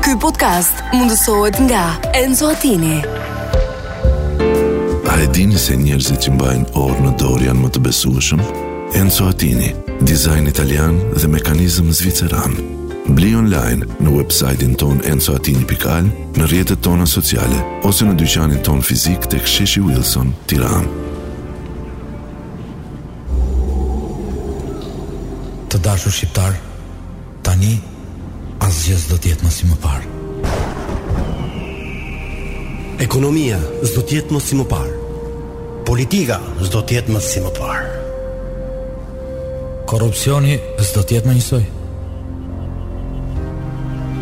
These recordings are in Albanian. Ky podcast mundësohet nga Enzo Attini. A e dini se njerëzit që mbajnë orë në dorë janë më të besueshëm? Enzo Attini, dizajn italian dhe mekanizëm zviceran. Bli online në website-in ton enzoatini.al, në rjetët tona sociale, ose në dyqanin ton fizik të ksheshi Wilson, tiran. Të dashur shqiptar, tani asgjë s'do të jetë më si më parë. Ekonomia s'do të jetë më si më parë. Politika s'do të jetë më si më parë. Korrupsioni s'do të jetë më njësoj.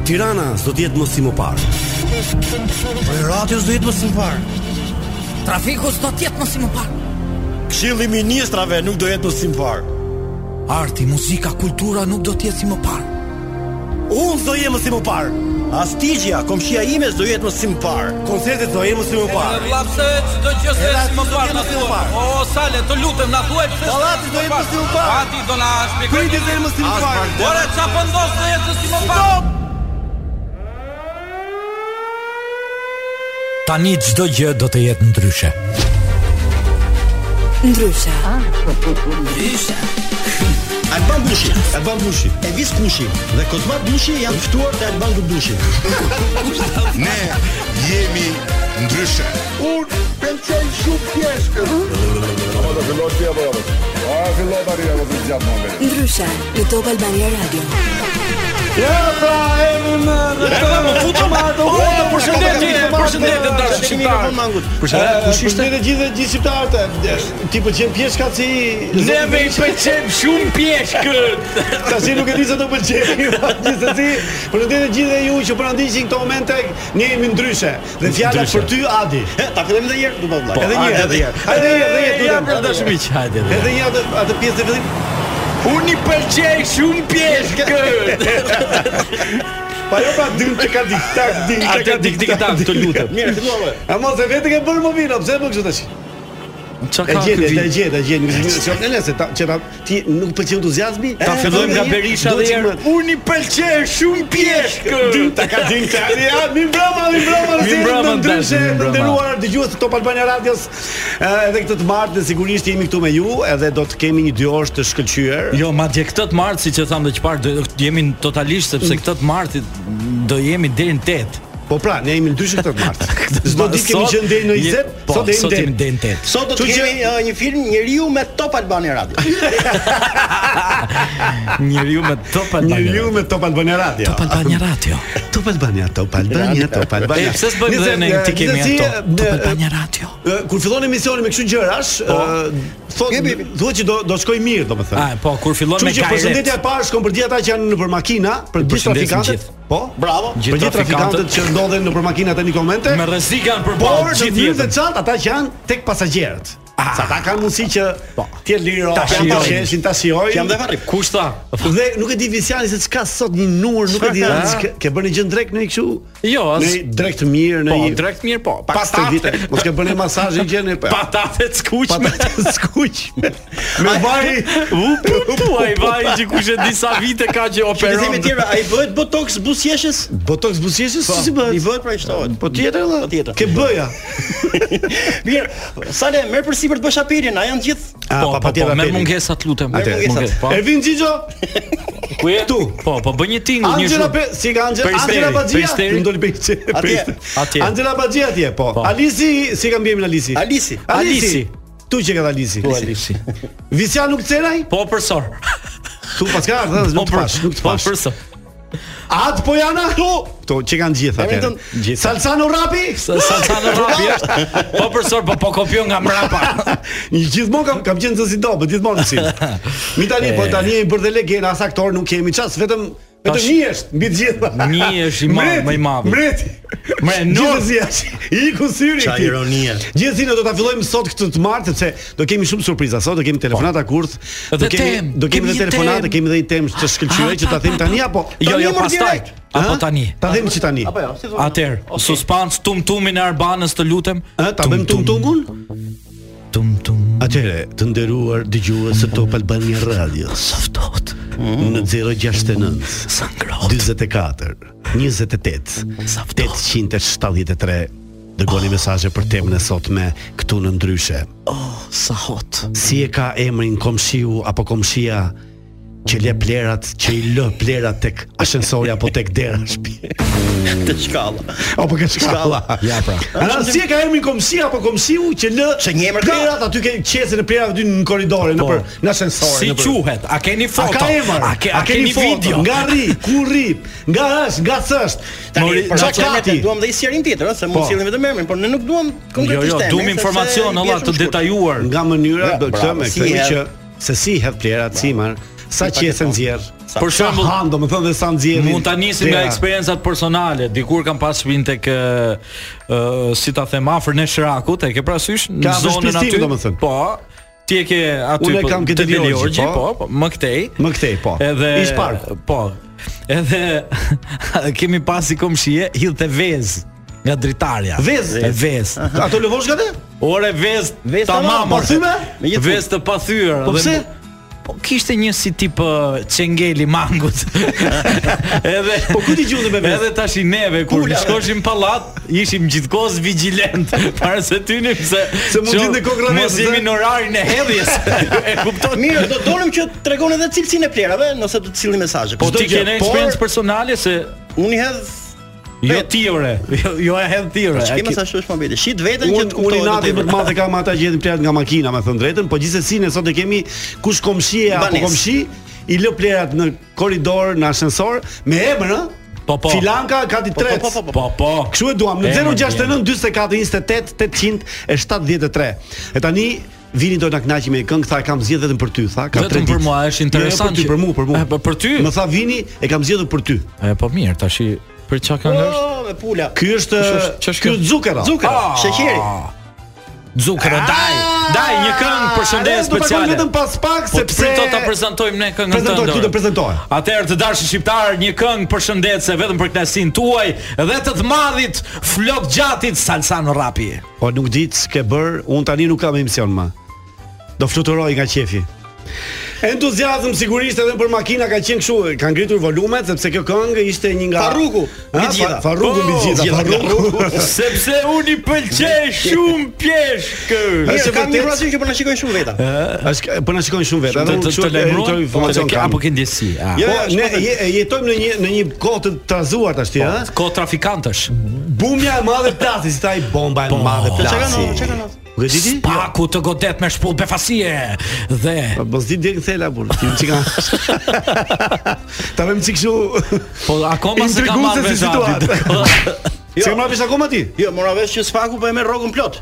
Tirana s'do të jetë më si më parë. Po Prerati s'do jetë më si më parë. Trafiku s'do të jetë më si më parë. Këshilli i ministrave nuk do jetë më si më parë. Arti, muzika, kultura nuk do të jetë si më parë. Unë s'do jem më si më parë. Astigja, komshia ime s'do jetë më si më parë. Koncertet do jenë më si më parë. Vllapse çdo gjë se Edhe si më aty parë na s'do jetë më thuaj. parë. O sale, të lutem na thuaj pse. Dallati do jetë më si më parë. Ati do na shpjegoj. Prindit do jenë më si më parë. Ora ç'a po ndos do jetë si më parë? Tani çdo gjë do të jetë ndryshe. Ndryshe, Alban Bushi, Alban Bushi, Elvis Kushi dhe Kozmat Bushi janë ftuar te Alban Bushi. Ne jemi ndryshe. ndryshe në Top Albania Radio. Erdha më futa më ato. përshëndetje, përshëndetje, dashur shqiptar. Përshëndetje, kush ishte? Përshëndetje gjithë gjithë shqiptarët. e vdes. Ti pëlqen pjeshka si Neve i pëlqen shumë pjeshkët. tash nuk e di se do pëlqeni. Gjithsesi, përshëndetje gjithë dhe ju që po na ndiqni në këtë moment tek ne jemi ndryshe. Dhe fjala për ty Adi. E, Ta fillojmë edhe një herë, do të vëllai. Edhe një herë, edhe një herë. Hajde Edhe edhe një herë, një herë, edhe një herë. miq, hajde. Edhe një herë atë- atë pjesë të fillim. Unë i pëlqej shumë pjeshkët. Pa jo pra dym të ka dik, tak dik, Atë dik, dik, tak, të lutem. Mirë, fillove. A mos e vetë ke bërë më vino, pse më kështu tash? Ç'a E gjeti, e gjeti, e gjeti, nuk është shumë e lehtë, ta që ta ti nuk pëlqen entuziazmi? Ta fillojmë nga Berisha dhe herë. Unë i pëlqej shumë Dim pjeshkët. ta ka dim ta. Ja, mi mbrëma, mi mbrëma, Mi mbrëma, mi mbrëma, Antan, ndryshe mi mbrëma. të nderuar dëgjues të Top Albania Radios, ë, edhe këtë të martën sigurisht jemi këtu me ju, edhe do të kemi një dy orë të shkëlqyer. Jo, madje këtë të martë, si që thamë dhe që parë, do- jemi në totalisht, sepse këtë të martit do jemi deri në 8. Po pra, ne jemi në dyshë këtë të martë. Çdo ditë kemi Sot qenë deri në je- 20, po, sot sot deri jemi në 10. deri në 8. Sot do të Kështu që- kemi uh, një film njeriu me Top Albani Radio. Njeriu me top Një Albania. ju me Top Albania Radio. Top Albania Radio. Top Albania, Top Albania, Top Albania. E, pse s'bëjmë Nëse, dhe ne ë, ti kemi gjithsesi, ato? ë, Top ë, Albania Radio. ë, Kur fillon emisioni me kështu gjërash, Po. ë, thotë thuhet që do do shkoj mirë, domethënë. A, po, kur fillon me Kështu që përshëndetja kajret. e parë shkon për gjithë ata që janë nëpër makina, për gjithë përshëndesim trafikantët. gjithë. Po, bravo. Gjithë Për gjithë trafikantët që ndodhen nëpër makina tani komente. Me rrezikan për Por ballë në gjithë mënyrë të jetën. Ah. çantë ata që janë tek pasagjerët. Sa ata kanë mundësi që Po. të jetë lirë, ta shiojnë. sheshin, ta shijojnë. Jam dhe varri. Kush tha? Dhe nuk e di Visiani se çka sot një numër, nuk e di Çka? s'ke- ke bërë një gjë drejt në një kështu. Jo, as- në një drejt të mirë në Po, një drejt mirë po. Pak pas të vite. Mos ke bërë një masazh një gjë në Patate të skuqme. të skuq. Me vaj Tuaj vaj që kush e disa vite ka që Që të themi operon. tjera, ai bëhet botox buzëqeshës? botox buzëqeshës si si I bëhet? bëhet pra i shtohet. Po tjetër valla. Po tjetër. Ke bëja. Mirë, sale, merr përsipër të bësh apelin, a janë gjithë? A, Po, Ah, pa, po, patjetër po, merr apelin. mungesa të lutem. Merr Merr mungesat. mungesë, po. Ervin Xixo, Ku je? Këtu. Po, po bëj një tingull, një Angela zhurmë. Pe, si ka Angela, Peristeri, Angela Baxhia, Peristeri. Më doli pe. Atje, atje. Angela Baxhia atje, po. Alisi, si ka mbiemën Alisi? Alisi. Alisi. Alisi. Tu që ka dhe Alisi. Si. Visian nuk cenaj? Po përsor. Tu pas ka ardhë, nuk të për- pash, nuk të po pash. përsor. Atë po janë këtu. Kto që kanë gjithë Emrin atje. tënd? Gjithë. Salsano Rapi? Salsano Rapi është. Po përsor, po po kopjon nga mrapa. Një gjithmonë kam kam qenë zësi dobë, gjithmonë si. Mi tani, po tani e bërë dhe legenda, as aktor nuk kemi ças, vetëm vetëm Tash- një është mbi të gjitha. Një është i madh, Mreti, më i madh. Mreti. Mre, Gjithsesi no. është. I ku syri. Qa këti. ironie. Gjithsesi ne do ta fillojmë sot këtë të martë sepse do kemi shumë surpriza sot, do kemi telefonata kurth, do Po. Dhe kemi tem, do kemi kemi një edhe telefonata, tem. Ah, kemi edhe një temë të shkëlqyer që ta them tani apo Jo, Tani, jo, mor, pastaj. direkt. Apo Ha? tani. Ta them që tani. Apo jo, si thua? Atër, suspans tum tumin e Arbanës të lutem. Ë, ta bëjmë tum tungun? Tum tum. Atëre, të nderuar dëgjues të Top Albania Radios Ftohtë, në 069 sa ngrohtë. 44 28 873 Oh. dërgoni mesazhe për temën e sotme këtu në ndryshe. Oh, Sa hot. Si e ka emrin komshiu apo komshia që le plerat, që i lë plerat tek ashensori apo tek dera e shtëpi. Te shkalla. Apo ke shkalla. Ja pra. Ana si e ka emrin komshia apo komshiu që lë Se një emër ka. plerat aty ke qesin e plerat aty në korridore, në për në ashensor. Po. Si quhet? A keni A foto? ka emër? A, ke, a, keni foto? video? Jo, Nga rri, ku rri, nga është, nga s'është. Tani për çka çfarë kati? duam dhe i sjellim tjetër, ëh, se Po. mund sjellim vetëm emrin, por ne nuk duam Jo, konkretisht jo, emrin. duam sepse informacion i bie olla shumë të shkurt. detajuar. Nga mënyra, Ja, do të bravo, them, si si hedh. që se si hedh plerat, si marr, sa qese nxjerr. Për Sa shembull, han, domethënë dhe sa nxjerrin. Mund ta nisim nga Dera. eksperiencat personale. Dikur kam pas shpinë tek ë ë, si ta them afër në Shrakut, e ke parasysh në Ka zonën vështirësim, aty. domethënë. Po. Ti e ke aty Unë e po, kam këtë te Delorgji, Delorgji, po. po, po, më këtej. Më këtej, po. Edhe Ish park. Po. Edhe kemi pasi komshie hidhte vezë nga dritarja. Vezë? E vezë. Ato lëvozhgat e? Ore vezë, Vezë tamam. tamam, po thyme? Me gjithë vezë të pathyër. Po dhe pse? Po kishte një si tip ë, çengeli mangut. edhe Po ku ti gjundë me vezë? Edhe tash i neve kur Pula. shkoshim pallat, ishim gjithkohë vigjilent para se tynim se Se mund qo- lindë kokra Mos vezë, jemi se- në orarin e hedhjes. e kupton? Mirë, do donim që tregon edhe cilësinë e plerave, nëse do të cilni mesazhe. Po Çdo ti gjë, ke por eksperiencë personale se Unë i hedh jo Vet. ti ore, jo, jo e hedh ti ore. Çka A më ke- sa shosh mobilin. Shit veten që Unë të unë i kuptohet. nati më të madhe kam ata që jetin plerat nga makina, me thënë drejtën, po gjithsesi ne sot e kemi kush komshie apo Banes. komshi i lë plerat në korridor, në ashensor me emër, ë? Po, po. Filanka gati po, tret. po, po, po. Po po. Kështu e duam në Emër, 069 44 28 873. E tani vini do na kënaqi me këngë, tha e kam zgjedhur vetëm për ty, tha, ka 3 ditë. Vetëm për mua është interesant. Jo, jo, që- për ty, për mua, E, po, për mua. për ty. Më tha vini, e kam zgjedhur për ty. E po mirë, tash i- për çka kanë është? Oh, me pula. Ky është Ç'është- ç'është ky kjo? është Zukera. Zukra, Ah. sheqeri. Zukra, daj, daj një këngë për shëndetje Ah, Ne do ta bëjmë speciale. vetëm pas pak Po sepse pse ta prezantojmë ne këngën Prezantoj, tënde. ti do ore? prezantoj. Atëherë të dashur shqiptar, një këngë për shëndetse vetëm për knasinë tuaj dhe të të madhit Flok Gjatit Salsan Rapi. Po nuk di ç'ke bër, un tani nuk kam emision më. Do fluturoj nga qefi. Entuziazëm sigurisht edhe për makina ka qenë kështu, ka ngritur volumet sepse kjo këngë ishte një nga Farruku, Ha, mbi gjitha. Fa- Farruku mbi Po, gjitha, gjitha Farruku. Sepse unë i pëlqej shumë pjeshkë. Është Mirë, kam një vërtet? rasim që po na shikojnë shumë veta. Është po na shikojnë shumë vetë, Të edhe unë të, të kështu lajmëroj editoj informacion kam. apo ke ndjesi? a? Jo, Po, ne shkojnë- je- jetojmë në një në një kohë të trazuar tash ti, ha? Ko Po, trafikantësh. Bumja e madhe plasi, si taj bomba e madhe plasi. Çka kanë, çka kanë? Nuk e di ti? Spaku të godet me shpull befasie dhe Po mos di deri thela burr, ti çka. Ta vëmë çik kështu. po akoma se kam marrë Intriguese si vetë. situatë. Se më rapish akoma ti? Jo, mora vesh që Sfaku po e merr rrogën plot.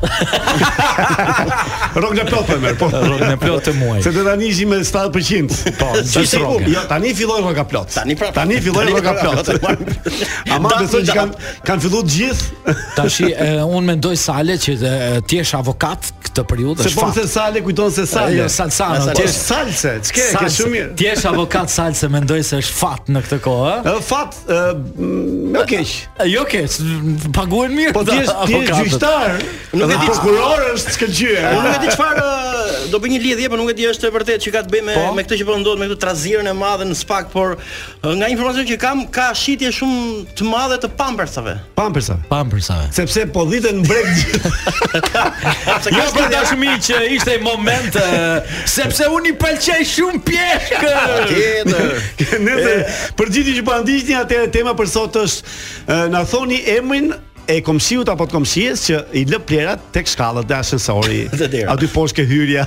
Rrok në plot po e merr, po. Rrogën e plot të muaj. Se do tani ishim me 7%. Po, gjithë rrogën. Jo, tani filloi rroga plot. Tani prapë. Tani pra- filloi Tani rroga plot. prapë. Ama Dat- besoj që dat. kanë kanë filluar të gjithë, Tashi e, unë mendoj Sale që e, ti je avokat këtë periudhë. se është po fakt. se Sale kujton se Sale. Jo, Salsano, Po, ti je- Salse, ç'ke, ke Salse. shumë mirë. Ti je avokat salse, mendoj se është fat në këtë kohë, ë? Ë fat, ë më keq. Jo, ke, s- paguhen mirë. Po ti je ti je avokatët. gjyqtar. Nuk e di prokuror është skëlqyer. Unë nuk e di çfarë ë, do bëj një lidhje, por nuk e di është e vërtetë që ka të bëjë me me këtë që po ndodh me këtë trazirën e madhe në Spak, por ë, nga informacioni që kam ka shitje shumë të madhe të pampersave. Pampersa. Pampersa. sepse po dhiten në breg gjithë. Sepse pra, Jo, ka për shitje dashmi që ishte moment e, sepse unë i pëlqej shumë pjeshkë. tjetër. Nëse për gjithë që po ndiqni atëherë tema për sot është ë, na thoni emrin e komshiut apo të komshies që i lë plerat tek shkallët dhe ashensori. Dhe dera. Aty poshtë ke hyrja.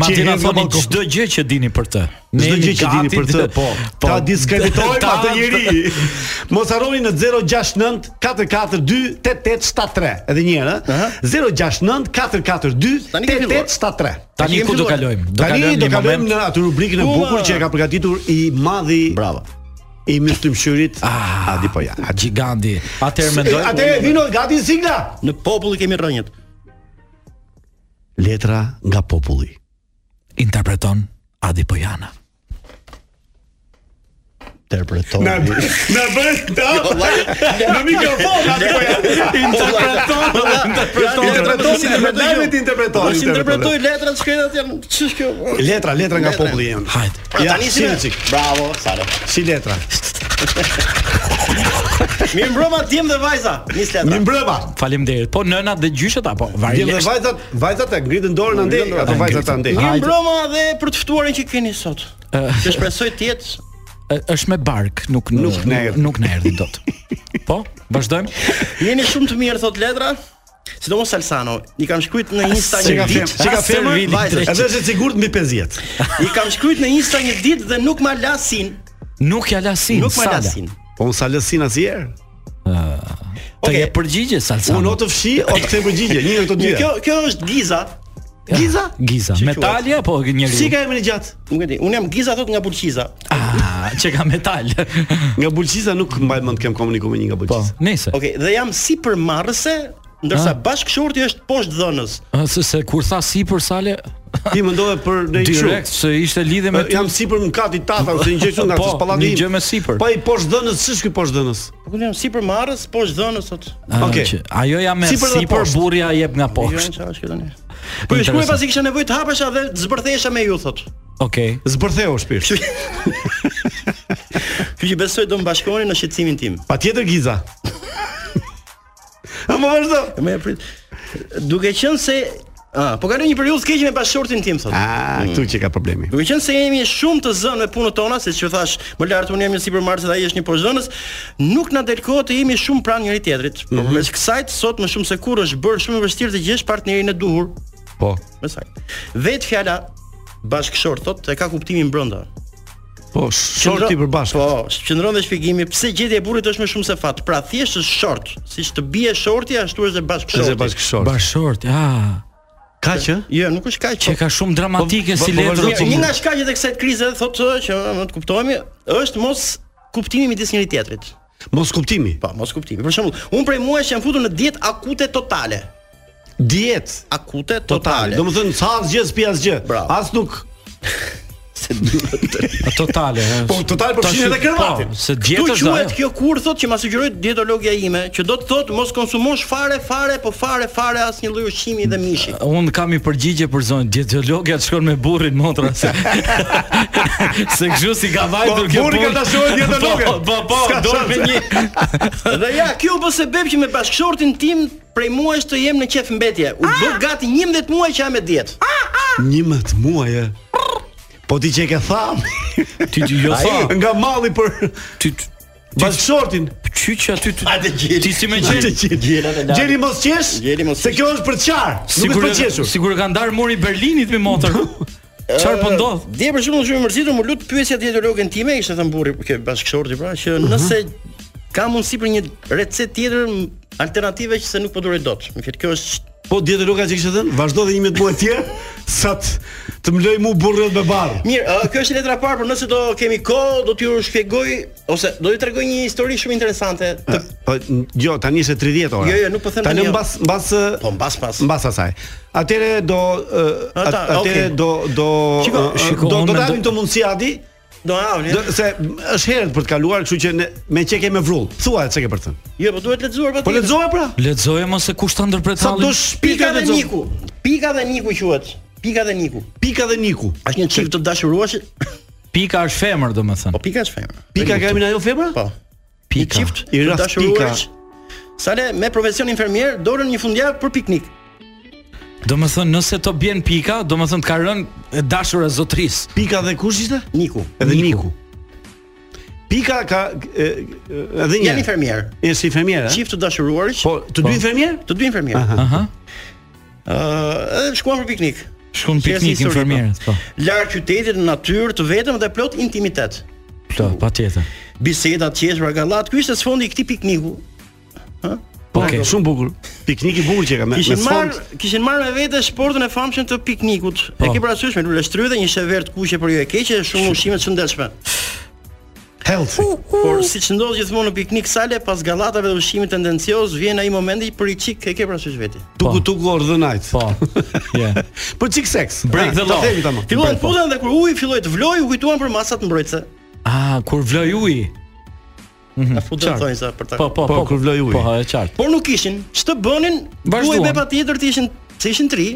Ma ti hedh nga na thoni balkoni. çdo gjë që dini për të. Ne Çdo jemi gjë që dini gati për të, dhe- po. Ta diskreditojmë Ta- atë njeri. Mos harroni në 069 442 8873. Edhe një herë, ë? 069 442 Tani ke filluar. 8873. Tani Kemi ku do filluar. kalojmë? Do Tani do kalojmë një kalojmë moment. në atë rubrikën e Ua! bukur që e ka përgatitur i madhi Bravo. i myftymshyrit Ah, Adi po ja. Giganti. Atëherë mendoj. Atë vino gati sigla. Në popull i kemi rrënjët. Letra nga populli. Interpreton Adi po Pojana. Interpreton. Na bën Jo, ta në mikrofon Adi po ja. Interpreton, Interpreton, interpreton. interpretoj interpretoj, jo. Po, interpretoj. Tash interpretoj letrat shkretat janë ç'është kjo? Letra, letra nga Letra. populli jam. Hajde. Pra Ja, tani si si me- çik. Bravo, Sara. Si letra. Mirë mbrëma djem dhe vajza. Nis letra. Mi mbrëma. Faleminderit. Po nënat dhe gjyshet apo Djem dhe varilisht. vajzat, vajzat e ngritën dorën andej, ato vajzat ta andej. Mirë Hajde. mbrëma dhe për të ftuarën që keni sot. Që shpresoj të jetë Ë, Është me bark, nuk nuk Nuk na erdhi. nuk na erdhi dot. Po, vazhdojmë. Jeni shumë të mirë thot letra. Sidomos Salsano, i kam shkruajt në Insta Që një ka ditë, femër, që ka femër, Servini vajzat. edhe është e sigurt mbi 50. I kam shkruajt në Insta një ditë dhe nuk ma lasin, Nuk ja lasin. nuk ma Sala. lasin. Po unë sa lësin asnjëherë. Të Okej. je përgjigje Salsa. Unë o të fshi o të them përgjigje, një nga këto Një, dyja. kjo kjo është Giza. Giza? Giza. Që Metali apo po, njeriu? Si ka emrin gjatë? Nuk e di, unë jam Giza thot nga Bulqiza. Ah, që ka metal. Nga Bulqiza nuk mbaj mend kem komunikuar me një nga Po, Bulqiza. nejse. Okej, dhe jam si përmarrëse, ndërsa Ah. bashkëshorti është poshtë dhënës. Ë, Se, se kur tha si për sale Ti mendove për në direkt se ishte lidhje me Ë, ty. Jam sipër në kati tata ose një gjë kështu nga Po, kësaj pallati. një im. gjë me sipër. Po i poshtë dënës, ç'është ky poshtë dënës? Po unë jam si përmarrës, poshtë dhënës sot. Ah, Okej. që- Ajo ja me Sipër dhe sipër poshtë. burrja jep nga Jo, poshtë. çfarë është kjo tani? Po ju shkruaj Interesant. pasi kisha nevojë të hapesha dhe të zbërthesha me ju thot. Okej. Zbërtheu shpirt. Kjo që besoj do mbashkoni në shqetësimin tim. Patjetër Giza. A më vazhdo. E Më e prit. Duke qenë se Ah, po kaloj një periudhë keqe me bashkëshortin tim thot. Ah, këtu që ka problemi. Duke qenë se jemi shumë të zënë me punët tona, siç ju thash, më lart unë jam një supermarket dhe ai është një poshtëdhënës, nuk na del kohë të jemi shumë pranë njëri tjetrit. Mhm. Mm -hmm. Përveç kësaj, sot më shumë se kur është bërë shumë e vështirë të gjesh partnerin e duhur. Po. Me saktë. Vetë fjala bashkëshort thotë e ka kuptimin brenda. Po, shorti për bashkë. Po, qëndron dhe shpjegimi pse gjetja e burrit është më shumë se fat. Pra thjesht është short, siç të bie shorti ashtu është dhe Është bashkëshorti. bashkë short. Bashort, ja. Ka që? Jo, nuk është kaq. Që ka shumë dramatike Po, si po, letër. vazhdo Mirë, Zoti një Mur. nga shkaqet e kësaj krize thotë ë, që ë, të kuptohemi është mos kuptimi midis njëri tjetrit. Mos kuptimi. Po, mos kuptimi. Për shembull, unë prej muajsh jam futur në dietë akute totale. Dietë Akute totale. totale. Domethënë sa asgjë s'pi asgjë. Bravo. As nuk Totale. e, Po, total përfshin tash- edhe kravatin. Po, se Këtu dieta është quhet ajo. kjo kur thotë që ma sugjeroi dietologja ime, që do të thotë mos konsumosh fare fare, po fare fare asnjë lloj ushqimi dhe mishi. Unë kam i përgjigje për zonjë dietologja të shkon me burrin motra se se kështu si ka vajtur Po, kjo burri ka dashuar dietologe. Po, po, po, S'ka do shanse. me një. Dhe ja, kjo bë sebeb që me bashkëshortin tim prej muajsh të jem në qef mbetje. U Ah! bë gati 11 muaj që jam me dietë. 11 muaj. e. Po ti që e ke thamë Ti ti jo sa. Nga malli për Ti ti- bashkëshortin qyç aty ti. Atë gjeli. Ti si më Atë gjej? gjeli. Gjeli mos qesh Gjeli mos Se qesh. kjo është për të qarë Nuk është për të qeshur Sigur ka ndar muri i Berlinit me motor. Çfarë po ndodh? Dje për shembull shumë e mërzitur, më lut pyesja dietologen time, ishte thënë burri, ke bashkëshorti pra, që Mhm. nëse ka mundësi për një recetë tjetër m- alternative që se nuk po duroj dot. Më fjet, kjo është Po dietologa që kishte thënë Vazhdo dhe 11 muaj tjerë Sa të të më loj mu burrët me barë mirë, ë, kjo është letra e parë, por nëse do kemi kohë, do t'ju shpjegoj ose do t'ju tregoj një histori shumë interesante. Të, Po n- jo, tani është 30 ora. Jo, jo, nuk po them Tani tani, jo. mbas mbas po mbas pas. mbas asaj. Atëre do ë, Ata, at- atëre okay. do do Shiko, ë, shiko, do unë do mendoj- dalim të mundësi Adi, Do eh? na avni. do, se është herët për të kaluar, kështu që ne, me çe ke me vrull. Thua çe ke për të thënë. Jo, po duhet lexuar patjetër. Po lexoja pra. Lexoje mos se kush ta ndërpret Sa hallin. do Pika shpika dhe lexo. Niku. Pika dhe Niku quhet. Pika dhe Niku. Pika dhe Niku. Është një çift të dashuruash. Pika është femër domethënë. Po pika është femër. Pika ka emrin ajo femra? Po. Një Pika. çift I të rast dashuruash. Sale me profesion infermier dorën një fundjavë për piknik. Domethënë nëse to bjen pika, domethënë ka rënë e dashura e zotris. Pika dhe kush ishte? Niku. Edhe Niku. Pika ka e, e, edhe një. Janë infermier. Është si fermier, a? Çift të dashuruarësh. Po, të dy fermier? Të dy infermier. Ëh, Aha. edhe shkuan për piknik. Shkon në Qesë piknik histori, infermierët, po. Larg qytetit në natyrë, të vetëm dhe plot intimitet. Plot, patjetër. Biseda të qeshura gallat. Ky ishte sfondi i këtij pikniku. Po, okay. shumë bukur. Piknik i bukur që ka me me Kishin sfond. marr, kishin marr me vete shportën e famshëm të piknikut. E Po. ke parasysh me lule shtrydhe, një shever të kuqe për ju e keqe, shumë ushqime të shëndetshme. Healthy. Por siç ndodh gjithmonë në piknik sale, pas gallatave dhe ushqimit tendencioz, vjen ai momenti për i çik e ke parasysh veti. Tuku tuku or the night. Po. Je. Po çik seks. Break Ah, the ta law. themi tamam. Filluan Break, po. putën dhe kur uji filloi të vlojë, u kujtuan për masat mbrojtëse. Mhm. Ah, kur vloj uji. Na futën qartë. thonjë sa për ta. Po, po, Mhm. Po, kur vloj uji. Po, e qartë. Por nuk kishin, ç'të bënin? Vazhduan. Duhej me patjetër të ishin se ishin 3,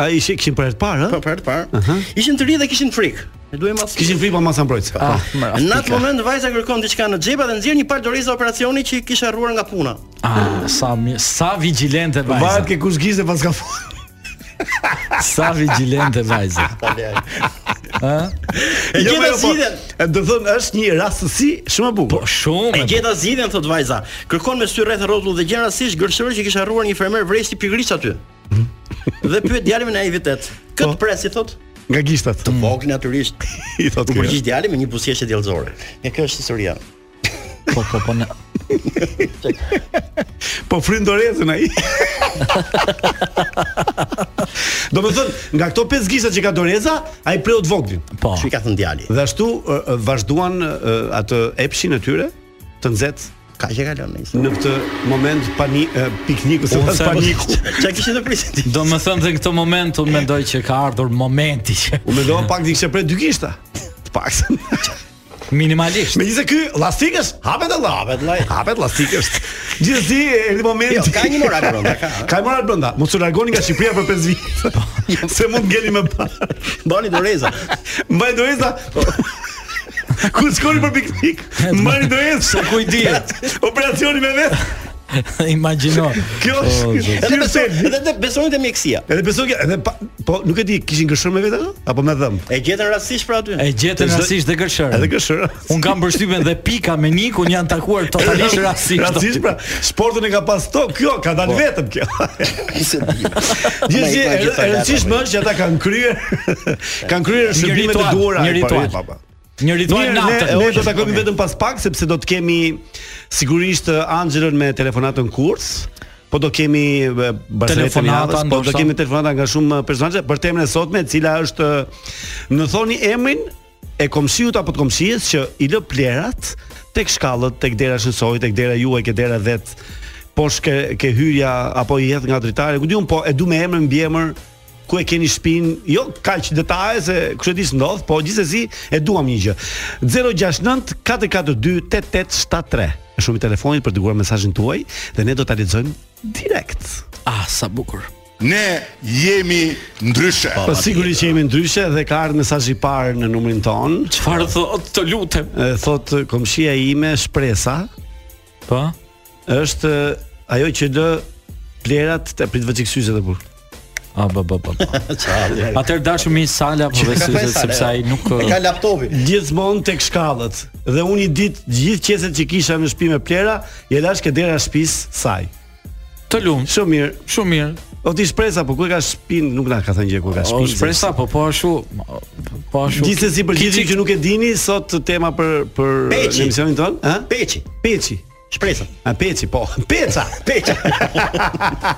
Ai ishi kishin për herë të parë, po ë? për të parë. Ishin 3 dhe kishin frikë. Ne duhem atë. Kishin frikë pa masën mbrojtëse. Po. Në atë moment vajza kërkon diçka në xhep dhe nxjerr një palë doreza operacioni që i kishte harruar nga puna. Ah, sa mi- sa vigilente Varet vajza. ke kush gizte pas ka fund. Sa vigilente vajza. Po, E Jo, gjeta jo, po, zgjidhjen. Do thonë është një rastësi shumë e Po bukur. shumë. E gjeta zgjidhjen thot vajza. Kërkon me sy rreth rrotull dhe gjen rastisht gërshëror që kishte harruar një fermer vresi pikërisht aty. Mhm. Dhe pyet djalin me naivitet. Kët presi thot, Po. Nga gishtat. vogël natyrisht. I thotë U kjo. përgjigj djalin me një buzëqeshje diellzore. E kjo është historia. po po po. në- Po fryn dorezën ai. Do të thonë, nga këto pesë gishta që ka doreza, ai preu të voglin. Po. Çi ka thënë djali? Dhe ashtu ë, ë, vazhduan ë, atë epshin e tyre të nxehtë Ka që ka lënë. në këtë moment pani ë, pikniku se Unë pas se- paniku. Çka kishin të prisin ti? Do më thëmë dhe në këtë moment unë mendoj që ka ardhur momenti që U mendova pak di kishte prej dy gishta. Të paktën. minimalisht. Megjithëse ky lastikësh hapet Allah, hapet Allah, hapet lastikësh. Gjithsesi e në moment Jo, ka një moral brenda, ka. Ka i moral brenda. Mos u largoni nga Shqipëria për 5 vite. se mund ngeli më parë. Bani doreza. Mbaj doreza. Kur shkoni për piknik, mbani dorezë. Se kuj dihet. Operacioni me vetë. Imagjino. Kjo O, është. zot. Edhe Edhe besoj. beson, edhe dhe besoni te mjekësia. Edhe besoj, që- edhe pa, po nuk e di, kishin gëshër me vetë ato apo me dhëm? E gjetën rastësisht pra aty. E gjetën Çdo- rastisht dhe gërshërën. Edhe gëshër. Unë kam përshtypjen dhe Pika me Nikun janë takuar totalisht rastisht. Rastisht pra, sportin e ka pas to, kjo ka Po. dalë vetëm kjo. Gjithsesi, Ma i- ma i e gjithë e rëndësishme er- është që ata kanë kryer kanë kryer shërbime të ritual, duhura. një e ritual. pari, pa, pa. Një ritual Mirë, natën. Ne, ne do takohemi vetëm pas pak sepse do të kemi sigurisht eh, Anxhelën me telefonatën kurs. Po do kemi eh, Barcelonën e Telefonata, javës, po do ndoshta. kemi telefonata nga shumë eh, personazhe për temën e sotme, e cila është eh, në thoni emrin e komshiut apo të komshies që i lë plerat tek shkallët, tek dera shënsoj, tek dera juaj, ke dera vet, poshtë ke, ke hyrja apo i hedh nga dritare, ku diun, po e du me emër mbi emër ku e keni shtëpinë, jo kaq detaje se kush e di s'ndodh, po gjithsesi e duam një gjë. 069 442 8873. Është numri i telefonit për të dërguar mesazhin tuaj dhe ne do ta lexojmë direkt. Ah, sa bukur. Ne jemi ndryshe. Po sigurisht që jemi ndryshe dhe ka ardhur mesazhi i parë në numrin ton. Çfarë thot, të lutem. E, Thot komshia ime shpresa Po. është e, ajo që lë plerat të prit vëçiksyze të burr. A ba ba ba. ba. Atëherë dashur mi Sala po Çka ka besoj e Sala, sepse ai nuk E ka laptopi. Gjithmonë tek shkallët dhe unë i ditë gjithë qeset që kisha në shtëpi me plera, i lash ke dera shtëpisë saj. të lumt. Shumë mirë. Shumë mirë. O ti shpresa, po ku e ka shtëpinë, nuk na ka thënë gjë ku e ka O shtëpinë. shpresa po po ashtu po ashtu. Gjithsesi për gjithë që nuk e dini, sot tema për për Peci. në emisionin ton, ë? Peçi, Peci. shpresa. A peci, po. Peca, peca.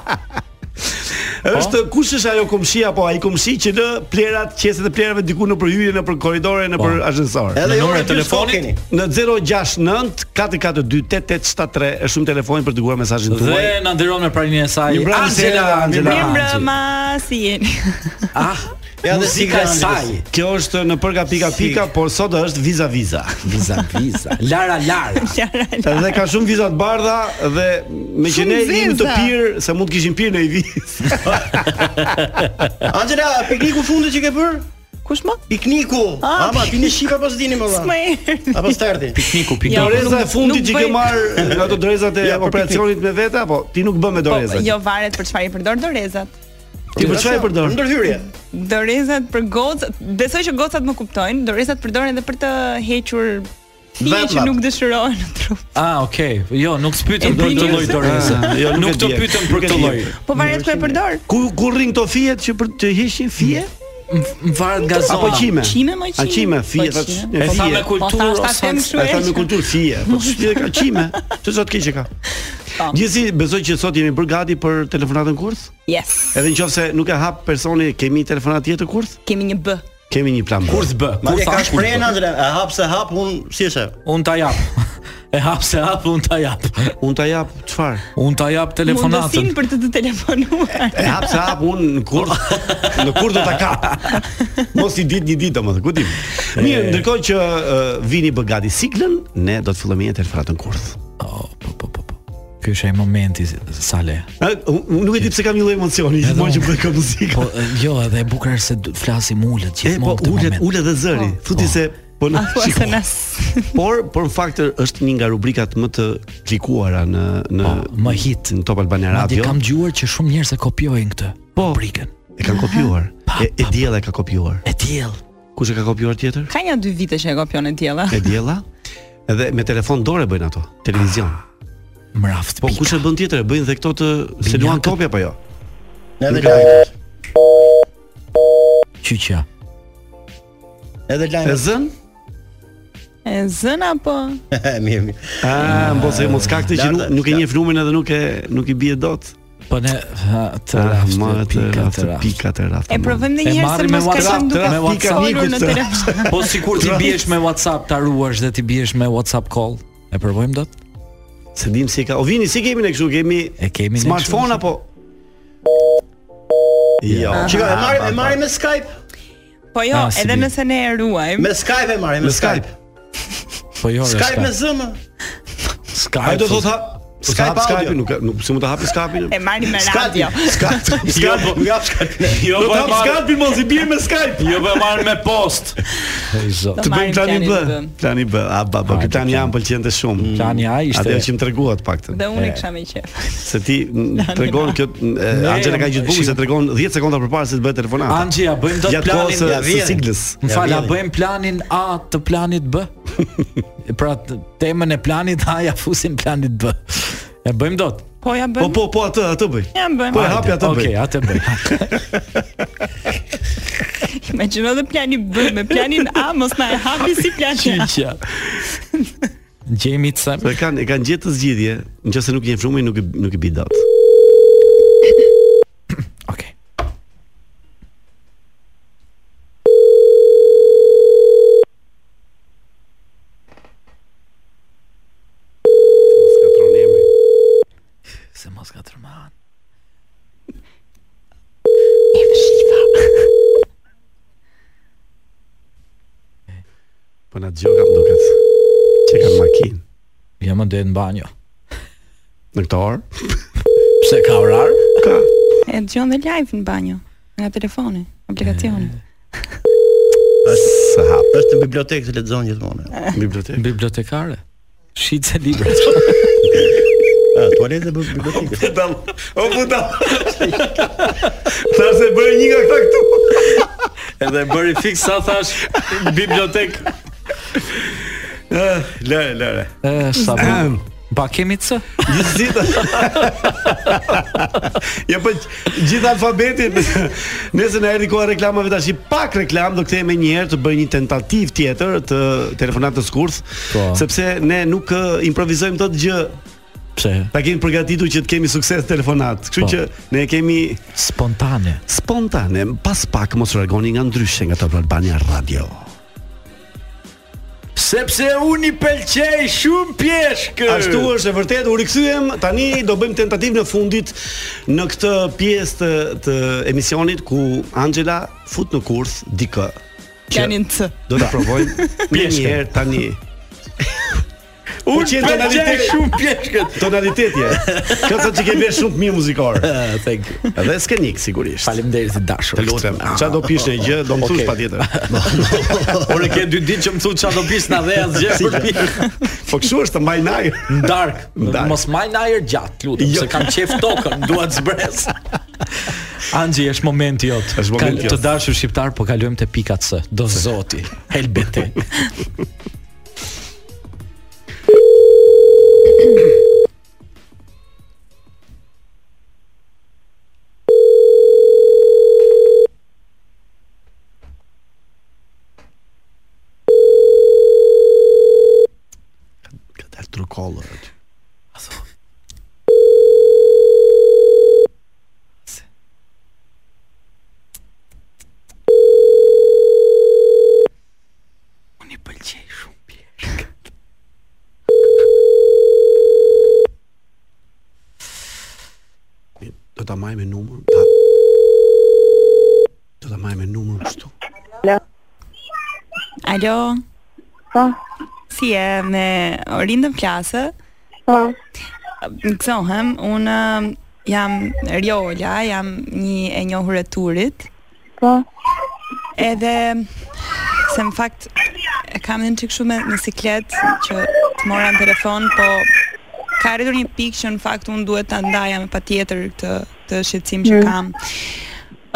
Po. Është kush është ajo komshi apo ai komshi që lë plerat, qeset e plerave diku nëpër hyrje, nëpër koridore, nëpër ashensor. Edhe Po. Në jo numrin e e telefonit telefonit? keni. Në 069 442 8873 është shumë telefoni për të dërguar mesazhin tuaj. Dhe na nderon me praninë e saj. Mirëmbrëmje, Sela, mirëmbrëmje. Mirëmbrëma, si jeni? Ah, Ja dhe si muzika e grandi saj. besoj. Kjo është në përka pika pika, por sot është viza viza. Viza viza. Lara Lara. Qara, Edhe ka shumë viza të bardha dhe me që Shumë ne jemi të viza. pirë se mund të kishim pirë në i vizë. Angela, pikniku fundit që ke bër? Kush më? Pikniku. Ah, Ama ti në ship apo s'dini më Më valla. erë. Apo starti. Pikniku pikniku. Jo, Doreza e nuk- fundit nuk që ke bëj- marr nga ato dorezat e Ja, për operacionit me vete apo ti nuk bën me Po, doreza? jo varet për çfarë i përdor dorezat. Ti për çfarë e përdor? Ndërhyrje. Dorezat për gocat, besoj që gocat më kuptojnë, dorezat përdoren edhe për të hequr thije që Vetlat. nuk dëshirohen në trup. Ah, okay. Jo, nuk s'pyetëm E për di këtë mirë lloj se- doreze. Ah, jo, nuk Nuk e të di. pyetëm Nuk për e këtë di. lloj. Po varet ku e përdor. Ku ku rrin këto fijet që për të hiqin fije? Më varet nga zona. Apo qime? Qime, mo, A qime. qime, fije, Po, tha- qime. E tha me fije. Po kulturë thash ta them ose kështu E tha me kultur fije, po çfarë ka qime? Ço zot keq që ka. Po. Gjithsesi, besoj që sot jemi bërë gati për telefonatën kurth. Yes. Edhe nëse nuk e hap personi, kemi telefonat tjetër kurth? Kemi një B. Kemi një plan. B. Kurth bë. Ma Kurth ka as kurth shprehen bë. Angela, e hap se hap un si është? Un ta jap. E hap se hap, un ta jap. Unë ta jap çfarë? Un ta jap telefonatën. Mundësin për të të telefonuar. E hap se hap unë në kur në kur do ta kap. Mos i ditë një ditë domethënë, ku dim. Mirë, ndërkohë që uh, vini bëgati siklën, ne do të fillojmë një telefonatën kurth. Po, po, po, po. Ky është ai momenti Sale. Ë, unë nuk e di pse kam një lloj emocioni Edhe gjithmonë që unë. bëj ka muzikë. Po e, jo, edhe e bukur është se du- flasim ulet E po gjithmonë këtë ulet moment. ulet dhe zëri. Po. Thuti Po. se po A në thua shiko. se nas Por por në fakt është një nga rubrikat më të klikuara në në Po, më hit. në Top Albania Madje Radio. kam dëgjuar që shumë njerëz e kopjojnë këtë Po. rubrikën. E kanë kopjuar. Pa, E, e pa, diella e ka kopjuar. E tjell. Kush e ka kopjuar tjetër? Ka një dy vite që e kopion e djela E diella. Edhe me telefon dore bëjnë ato, televizion. Mraft. Po kush e bën tjetër? E bëjnë dhe këto të se luan Binjakët. topi apo jo? Edhe lajmet. qyçja? Edhe E lajmet. zën? E zëna po Mirë, mirë. Ah, mos e mos kakti që nuk, Lartë, nuk e njeh numrin edhe nuk e nuk i bie dot. Po ne ha, të Ah, raft, ma, të pika, raft, të raft. pika të raft. E ma. pra, provojmë E një herë se marrim me mos ka WhatsApp, qenë duke me WhatsApp. folur në Mikut, të- telefon Po sikur ti biesh me WhatsApp ta ruash dhe ti biesh me WhatsApp call. E provojmë dot? Se dim si ka. O vini si kemi ne kështu, kemi E kemi ne smartphone kështu? apo Jo. Shiko, e marrim e marrim me Skype. Po jo, Ah, si edhe mirë. nëse ne e ruajmë Me Skype e marrim, me Skype. Po jo, është Skype me zëm. Skype. Po Ai do thotë ha, Skype Skype Skype audio. nuk nuk si mund të hapi Skype-in. E marrim me radio Skype. Jo, po, nga Skype. Jo, Do po të e hap marr. Skype-in mos i bie me Skype. Jo, po e marr me post. Do Të bëjmë marrim plani planin B. të bëm. Plani B. A ba, ba, Hajde, ky plani plani. jam pëlqente shumë. Plani A ishte- Atë që më tregua të paktën. Dhe unë E. e kisha me qef Se ti m, tregon kjo m, e, Angela ka gjithë bukur se tregon 10 sekonda përpara se të bëhet telefonata. Angji, a bëjmë dot Gjatë planin? kohës së- Ja, së vjen. siglës. Më fal, a vjen. bëjmë planin A të planit B? pra t- temën e planit A ja fusim planit B. E bëjmë dot. Po ja Po bëm po po atë atë bëj. Ja bëm Po e hapi atë Okej, bëj. atë bëj. Me që edhe plani B Me planin A mos na e hapi si plani A Qyçja. Gjemi të sem. Se kanë e kanë gjetë të zgjidhje, nëse nuk jeni frumi nuk i- nuk i bi dot. Okej. Mos katroni emrin. Se mos ka tërmahan. Po na dëgjoj kam duket. Çe kanë makinë Ja më ndjen në banjo. në këtë orë? Pse ka orar? Ka. E dëgjon dhe live në banjo Nga telefoni, aplikacioni Sa hap Është në bibliotekë të lexon gjithmonë. në bibliotekë. Bibliotekare. Shitse libra. Ah, tualete e bibliotekës. O puta. Sa se bëri një nga këta këtu. Edhe bëri fix sa thash bibliotek. Eh, Lëre, lëre. E Eh, sa bu. Ba kemi c? Gjithsesi. Ja po gjithë alfabetin. Nëse na erdhi koha e reklamave tash, i pak reklam do kthehemi një herë të bëj një tentativë tjetër të telefonatës kurth, Po. sepse ne nuk ë, improvizojmë dot gjë. Pse? Ta kemi përgatitur që të kemi sukses telefonat. Kështu Po. që ne kemi Spontane. spontane, pas pak mos u largoni nga ndryshe nga Top Albania Radio. Po, Sepse unë i pëlqej shumë pjeshkë. Ashtu është e vërtet, u rikthyem, tani do bëjmë tentativën e fundit në këtë pjesë të, të emisionit ku Angela fut në kurth dikë. Planin C Do ta provojmë një herë tani. Unë pëlqen pëlqej tonaliteti. shumë pjeshkët. Tonalitetje. Ka sa që ke bërë shumë të mirë muzikor. Ah, Thank you. Edhe skenik sigurisht. Faleminderit të dashur. Të lutem, Ah. çfarë do pish në gjë, do më thush patjetër. Unë ke dy ditë që më thonë çfarë do pis na dhe asgjë për pjeshkë. Po kështu është të mbaj Jo. najër. Në dark. dark. Mos maj në ajër gjatë, lutem, se kam qef tokën, dua të zbres. Anxhi, është momenti jot. Është momenti Ka- jot. Të dashur shqiptar, po kalojmë te pika C. Do zoti, helbete. Ka dal trukollë aty. Unë i pëlqej shumë pjeshkët. Do ta maj me numër. Ta... Do ta maj me numër kështu. Alo Po, Si e me Orindën Plasë po, Më kësohem, unë um, jam Riola, jam një e njohur e turit. Po. Edhe se në fakt e kam një çik shumë në siklet që të mora në telefon, po ka arritur një pikë që në fakt unë duhet ta ndaja me patjetër këtë këtë shqetësim Mm. që kam.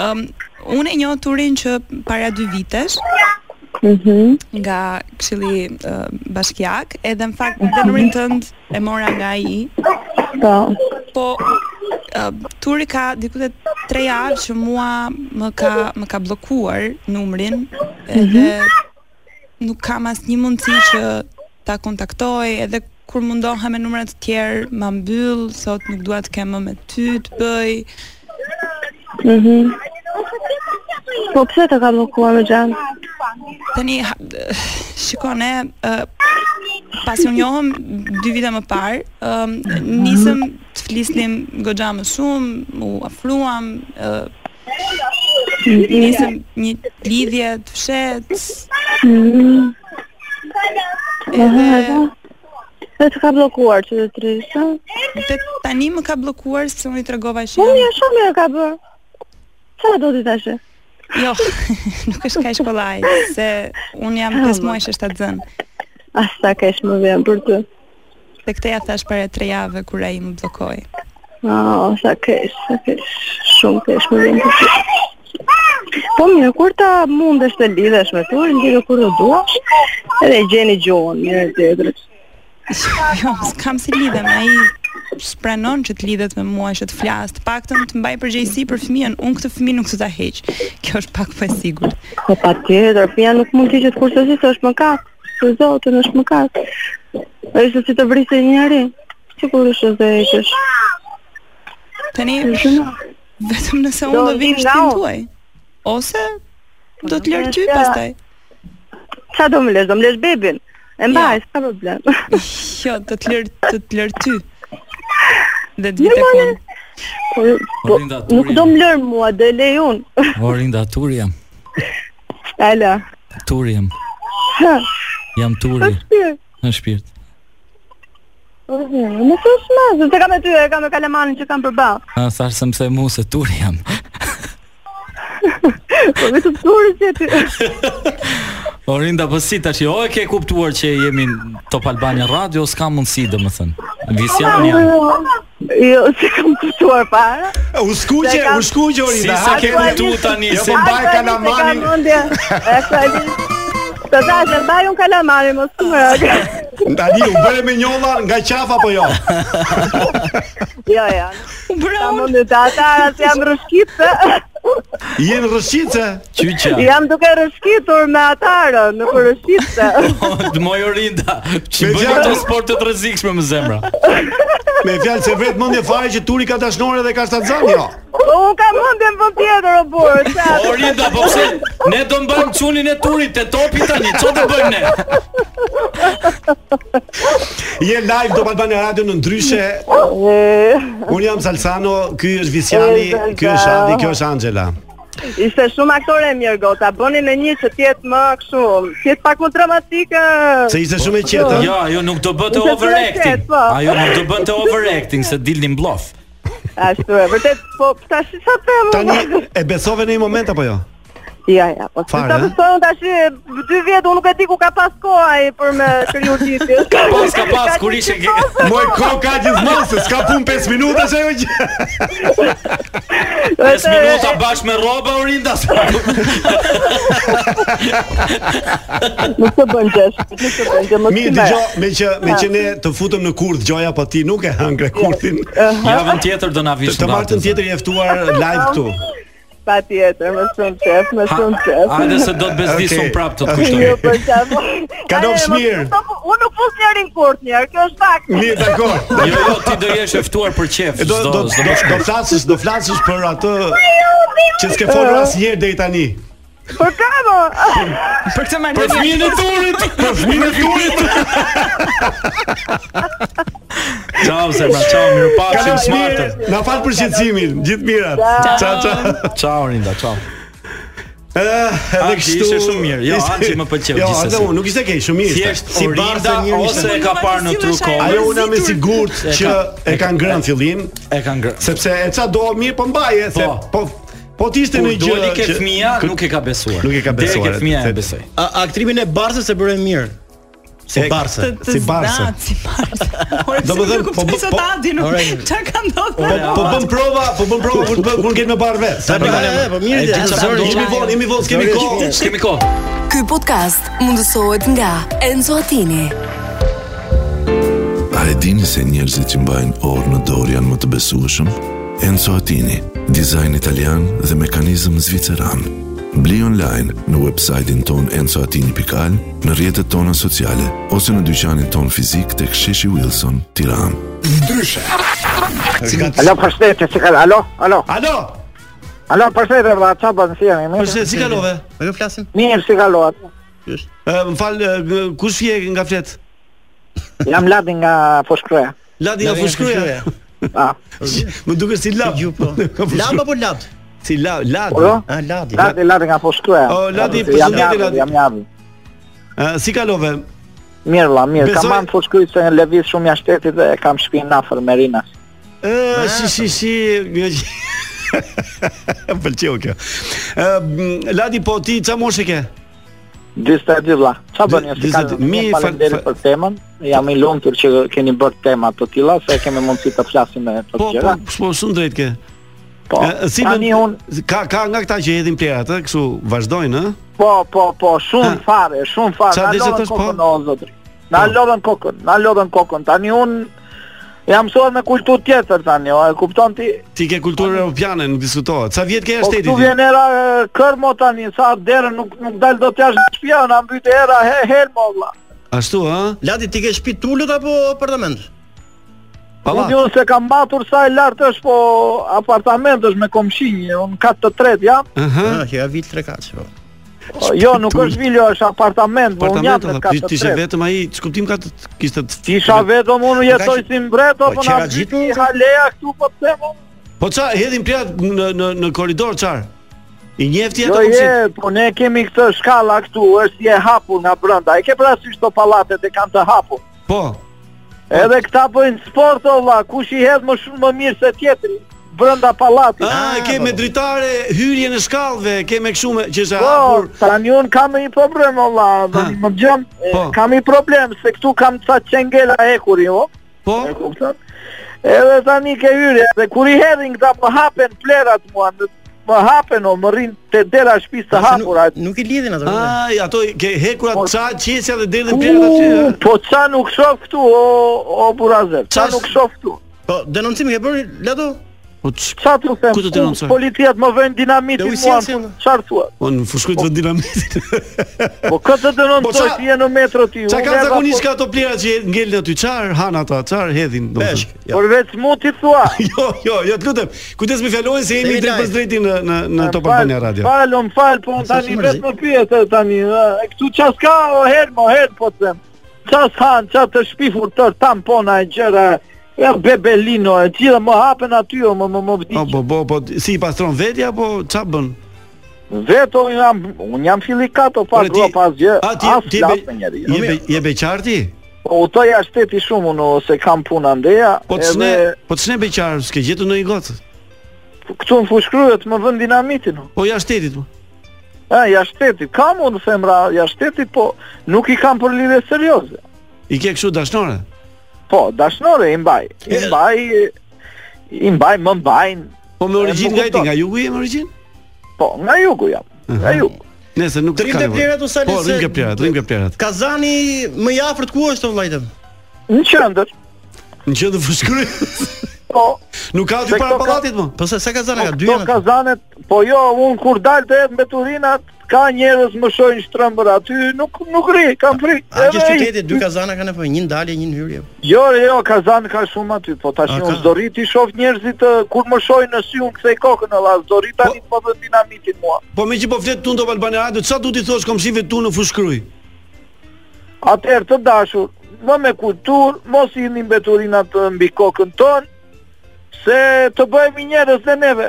Ëm unë e njoh turin që para dy vitesh, Mhm, nga këshilli uh, bashkiak, edhe në fakt dënërin tënd e mora nga ai. Po. Po uh, turi ka diku te 3 javë që mua më ka më ka bllokuar numrin edhe nuk kam asnjë mundësi që ta kontaktoj edhe kur mundohem me numra të tjerë ma mbyll, thot nuk dua të kem më me ty të bëj. mhm. Po pse të ka bllokuar me xhan? Tani ha- shikone uh, pasi u njohëm dy vite më parë, um, nisëm të flisnim goxha më shumë, u afruam, uh, nisëm një lidhje të fshehtë. Mm-hmm. Edhe Pse të ka bllokuar që të trisha? te tani më ka bllokuar sepse unë i tregova që Po jam- mirë, shumë mirë ka bër. Çfarë do ti tash? jo, nuk është kaq kollaj se un jam Ah, 5 muaj që shtatzën. As ta kesh më vjen për ty. Te këtë ja thash para 3 javëve kur ai më bllokoi. Ah, sa kesh, sa kesh. Shumë kesh më vjen për ty. Po mirë, kur ta mundesh të lidhesh me tur, ndjekë kur të duash, edhe e gjeni gjuhën mirë e tjetrës. Jo, s'kam si lidhem, ai s'pranon që të lidhet me mua, që të flas, të paktën të mbaj përgjegjësi për fëmijën. Unë këtë fëmijë nuk do ta heq. Kjo është pak pa e sigurt. Po pa tjetër, pia nuk mund t'i që të kursësisë është më katë, për zotën është më katë. është si të vrisë një njëri, që kur është dhe e qësh. Tani vetëm Do nëse unë do vi vi në nga shtëpinë unë. tuaj ose do të lërë ty nëse- pastaj. Qa do më lesh, do më lesh bebin, e mbaj, s'ka problem. Jo, do të lër të të lër ty. Dhe të vi tek Normale. unë. Po, po, Orinda Turi. nuk do më lërë mua, do e lej unë. Orinda Turi jam. Ala, Turi jam. Ha. Jam Turi mirë. në shpirt. Më së shmazë, se kam e ty, e kam e kalemanin që kam për balë. A thash se mëse mu se Turi jam. Po vetëm surë që ty. Orinda po si tash, o e ke kuptuar që jemi në Top Albania Radio, s'ka mundësi domethën. Visjan jam. Jo, se kam kuptuar para. U skuqe, u skuqe Si Orinda. sa ke hajde, kuptu tani Jo, se po, mbaj hajde, kalamanin? Të thashë, e mbaj unë kalamarin, mos të më rëgë. Tani u bëre me njolla nga qafa apo jo? Jo, jo, U bëra Ta unë. mundi të atara se jam rëshkitë Jen rrshitse. Qyqa. Jam duke rëshkitur me atarën Në për rëshkitë Të moj Orinda, që Me bën gjatë- ato sporte të rrezikshme me zemra. Me fjalë se vret mendje fare që turi ka dashnore dhe ka shtatzan, jo. Unë ka mundi më për tjetër o burë qa? Orinda, po pse ne do mbajmë çunin e turit te topi tani, ç'o do bëjmë ne? Je live do Albania Radio në ndryshe. E, Un jam Salsano, ky është Visiani, Ej, ky është Adi, kjo është Angela. Ishte shumë aktore e mirë gota Bëni në një që tjetë më këshu Tjetë pak më dramatike Se ishte shumë e qetë. ëh? Jo, ajo nuk do bëte Nëse overacting. flashet, po. Ajo nuk do bënte overacting se dilnin bluff. Ashtu e vërtet Po ta shi sa të më Tani e besove në një moment apo jo? Ja, ja Po si Fare, ta eh? pësojnë ta shi Dy vjetë unë nuk e di ku ka pas kohaj Për me kërju titi Pas ka pas kur ishe ke- Moj koka gjithmonë se s'ka pun 5 minuta se ajo gjë. 5 minuta bash me rroba Orinda. Nuk të bën gjesh Nuk të bën gjesh mos Mirë, ti merr. Pra. dëgjoj, me që me që ne të futëm në kurth gjoja, po ti nuk e hëngre kurthin. Javën tjetër do na vish. Të në martën datën, tjetër je ftuar live këtu. Pa tjetër, më shumë qef, më Ha- shumë qef. Hajde se do të bezdisum Okej. prapë të të Jo, kushtojmë. për qef. Kalofsh Ajde, mos- mirë. mos- Unë nuk fus njerin kurt njerë, kjo është fakt. Mirë, dakor. Jo, jo, ti do jesh e ftuar për qef. E Do s'do- do s'do- do do flasësh, do flasësh për atë që s'ke folur asnjëherë deri tani. Për ka mo? Për këtë Për marrëdhënie fëmijën e turit. Për fëmijën e turit. Ciao zemra, ciao, mirupafshim Kalofsh mirë. smartën. Na fal për shqetësimin, gjithë mirat. Ciao, ciao. Ciao Orinda, ciao. Edhe Anxhi ishte shumë mirë. Jo, ishte- Anxhi më pëlqeu Jo, gjithsesi. atë unë nuk ishte keq, shumë mirë. ishte. Thjesht Si Orinda bardha njëri ishte. ose e ka parë në True Call. Ajo unë jam i sigurt që e kanë ngrënë fillim, e kanë ngrënë. sepse e ça do mirë po mbaje, se Po. po po të ishte Kur në gjë. doli ke që- fëmia, kë- nuk e ka besuar. Nuk e ka Deri besuar, ke fëmia e se- besoi. A, aktrimin e Barsës e bëre mirë. Si E- Barse. Të- të si zdat, barse. Si barse. Ore, Do do më të thënë, them, po po- po po- Adi nuk Ore. çka ka Po ndodhur. po bën prova, po bën prova kur të bë- kur ngel me barë vetë. Ta bëj, e, po mirë, E e di çfarë zori do. Jemi vonë, jemi vonë, s'kemi kohë. Kemi kohë. Ky podcast mundësohet nga Enzo Attini. A e dini se njerëzit që mbajnë orë në dorë janë më të besueshëm? Enzo Attini, dizajn italian dhe mekanizëm zviceran. Bli online në websajtin ton enzoatini.al, në rjetët tona sociale, ose në dyqanin ton fizik të ksheshi Wilson, tiran. Alo, përshëndetje, si ka... Alo, alo, Alo, alo, përshëndetje, vëlla, çfarë bën si jemi? Mirë, përse si kalove? Ajo Po flasim. mirë si kalohet. Ë, Më fal, ë, kush je nga flet? Jam Ladi nga Foshkruja. Ladi nga fushkruja. Ah, Më duket si lab. Ju po. Ka fushkruj. Lab apo lad? Si la, ladi. alo? A ladi. Po. Ladi, Ladi nga Foshkruja. O, Ladi, jam përshëndetje, javë, Ladi. jam javë. Ë, si kalove? Mirë, vëlla, mirë. Besoj- Kam marrë në Foshkruj se lëviz shumë jashtë shtetit dhe kam shtëpinë afër Merinas. Ë, si si si. Më pëlqeu kjo. Ë, m, Ladi, po ti çfarë moshe ke? 42 vëlla. Çfarë bën ju? Si ka? 42, mi, fal- Faleminderit fal- për temën. Jam i lumtur që keni bërë tema të tilla se kemi mundësi të flasim me të Po, po, gjëra. po shumë drejt ke. Po. Ë, si Tani bën- unë ka ka nga këta që hedhin plerat, ë, kështu vazhdojnë, ë? Po, po, po, shumë Ha. fare, shumë fare. Qa Na dizet lodhen është, po? kokën, o zotri. Na lodhen kokën, na lodhen kokën. Tani un jam mësuar me kulturë tjetër tani, o, e kupton ti? Ti ke kulturë europiane, nuk diskutohet. Sa vjet ke Po ashteti këtu ti? vjen era e, kërmo tani, sa derën nuk nuk dal dot jashtë nga shtëpia, na mbyt era he helmo vlla. Ashtu, ë? Ladi ti ke shtëpi tulët apo apartament? Unë di Palla. unë se kam matur sa e lartë është, po apartament është me komshinjë, unë katë të tretë jam. Aha. Ah, që ja vit tre kaç. po. O, Jo, nuk është viljo, është apartament, po unë jam Apartamento, në tha, katë ti të ishe tretë. vetëm ai, ç'kuptim ka të kishte të- Isha vetëm unë jetoj si mbret, Po, apo na qera mbyt gjitë, një haleja këtu po të them. unë. Po ça, hedhin plerat në në në korridor çar. I njefti ato Jo, komshit. je, po ne kemi këtë shkalla këtu, është je hapur nga brenda. E ke parasysh to pallatet e kanë të hapur. Po. Edhe këta bëjnë sport o vlla, kush i hedh më shumë më mirë se tjetri brenda pallatit. Ah, e ke me dritare hyrjen e shkallëve, ke me kështu me që është e Po, hapur. tani un kam një problem o vlla, do Ha. më dëgjon? E, Po. Kam një problem se këtu kam ca çengela ekuri, o. Po, jo? E kupton? Edhe tani ke hyrje, dhe kur i hedhin këta më hapen plerat mua, në- më hapen o, më rrin te dera e shtëpisë të Po, Se nuk- hapura. Nuk i lidhin ato. vëllai. ai ato ke hekura Po. ça qesja dhe derdhin plerat aty. U, ë? Po qa nuk shoh këtu o o Burazer? Qa Qa- nuk shoh këtu? Po denoncim e ke bërë Lado? Po ç- Qa t'u them? Ku të denoncoj? Policia më vënë dinamitin Do i mua. sjellsin? Qa thua? po në fushkujt vë dinamitin. Po këtë të Po denoncoj qa- ti je në metro ti. Ça unë ka erdha zakonisht po- ka ato plerat që ngelin aty çar han ata, çar hedhin domethënë. Peshk. ja. Përveç mu ti thua. Jo, jo, jo, të lutem. Kujdes me fjalën se jemi Jemi drejt pas live. drejti në në në Top M'fal, Albania Radio. Fal, um fal, po unë Sa tani shumë vetë rrezik. më pyet e, tani. e, Këtu qa s'ka o herë, mo herë po të them. Qa s'han, qa të shpifur tër tampona e gjëra. Ja bebelino e gjitha më hapen aty o më më më Po, vdiq. po, po, po, si i pastron vetja apo ça bën? Veto unë jam unë jam fillikato pa Ore, Po, ti- grua pas gjë. A, ti- as ti flas be- me njeri. Je be, je beqarti? Po u toja shteti shumë unë se kam punë ndeja. Po të shne, po të shne beqar, s'ke gjetur në një gotë. këtu në fushkryet më vën dinamitin. unë. Po ja shtetit. po. E, ja shteti, kam unë femra, ja shteti, po nuk i kam për lidhje serioze. I ke kështu dashnore. Po, dashnore i mbaj. I mbaj, i mbaj, më mbajnë. Po me E, origjinë më nga ti, kupton. nga jugu je me origjinë? Po, nga jugu jam. Nga jugu. Nëse nuk Trim të nevojë. plerat u sali Po, se- rrim ke plerat, rrim ke plerat. Kazani më i afërt ku është o vllajtëm? Në qëndër, Në qendër fushkryes. po, Nuk ka aty Se para këto ka- pallatit më. Po se sa Kazani ka dy këto janë. kazanet, po jo, unë kur dalë të jetë me turinat, ka njerëz më shojnë shtrëmbër aty, nuk nuk ri, kam frik. A që Edhe i- qyteti dy Kazana kanë po një ndalje, një hyrje. Jo, jo, Kazan ka shumë aty, po tash A, unë ka? s'do rrit i shoh njerëzit ë, kur më shohin në sy unë kthej kokën alla, s'do rrit tani po të më vën dinamitin mua. Po me që po flet tu në Top Albania Radio, çfarë du t'i thosh komshive tu në fushkryj? Atëherë të dashur, më me kultur, mos i hidhni mbeturinat ë, mbi kokën tonë, se të bëhemi njerëz dhe neve.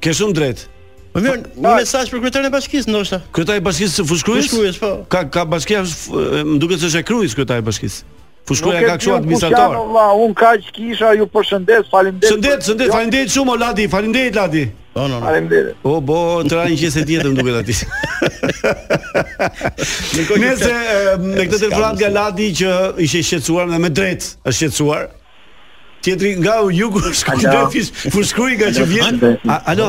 Ke shumë drejt. Më Po mirë, një mesazh për kryetarin e bashkisë ndoshta. Kryetari i bashkisë së Fushkruajës? Fushkruajës, po. Ka ka bashkia, f- më duket se është e Krujës kryetari i bashkisë. Fushkruaja Nuk e ka di kështu unë kush administrator. jam, valla, unë kaq kisha, ju përshëndes, faleminderit. Jo. Shëndet, shëndet, faleminderit shumë Oladi, faleminderit Ladi. Po, no, Faleminderit. O bo, të ra një qese tjetër më duket aty. Nëse e, me këtë telefonat nga Ladi që ishte shqetësuar dhe me drejt është shqetësuar. Tjetri nga jugu Alo. shkëndër fushkruj nga që vjen. A- Alo.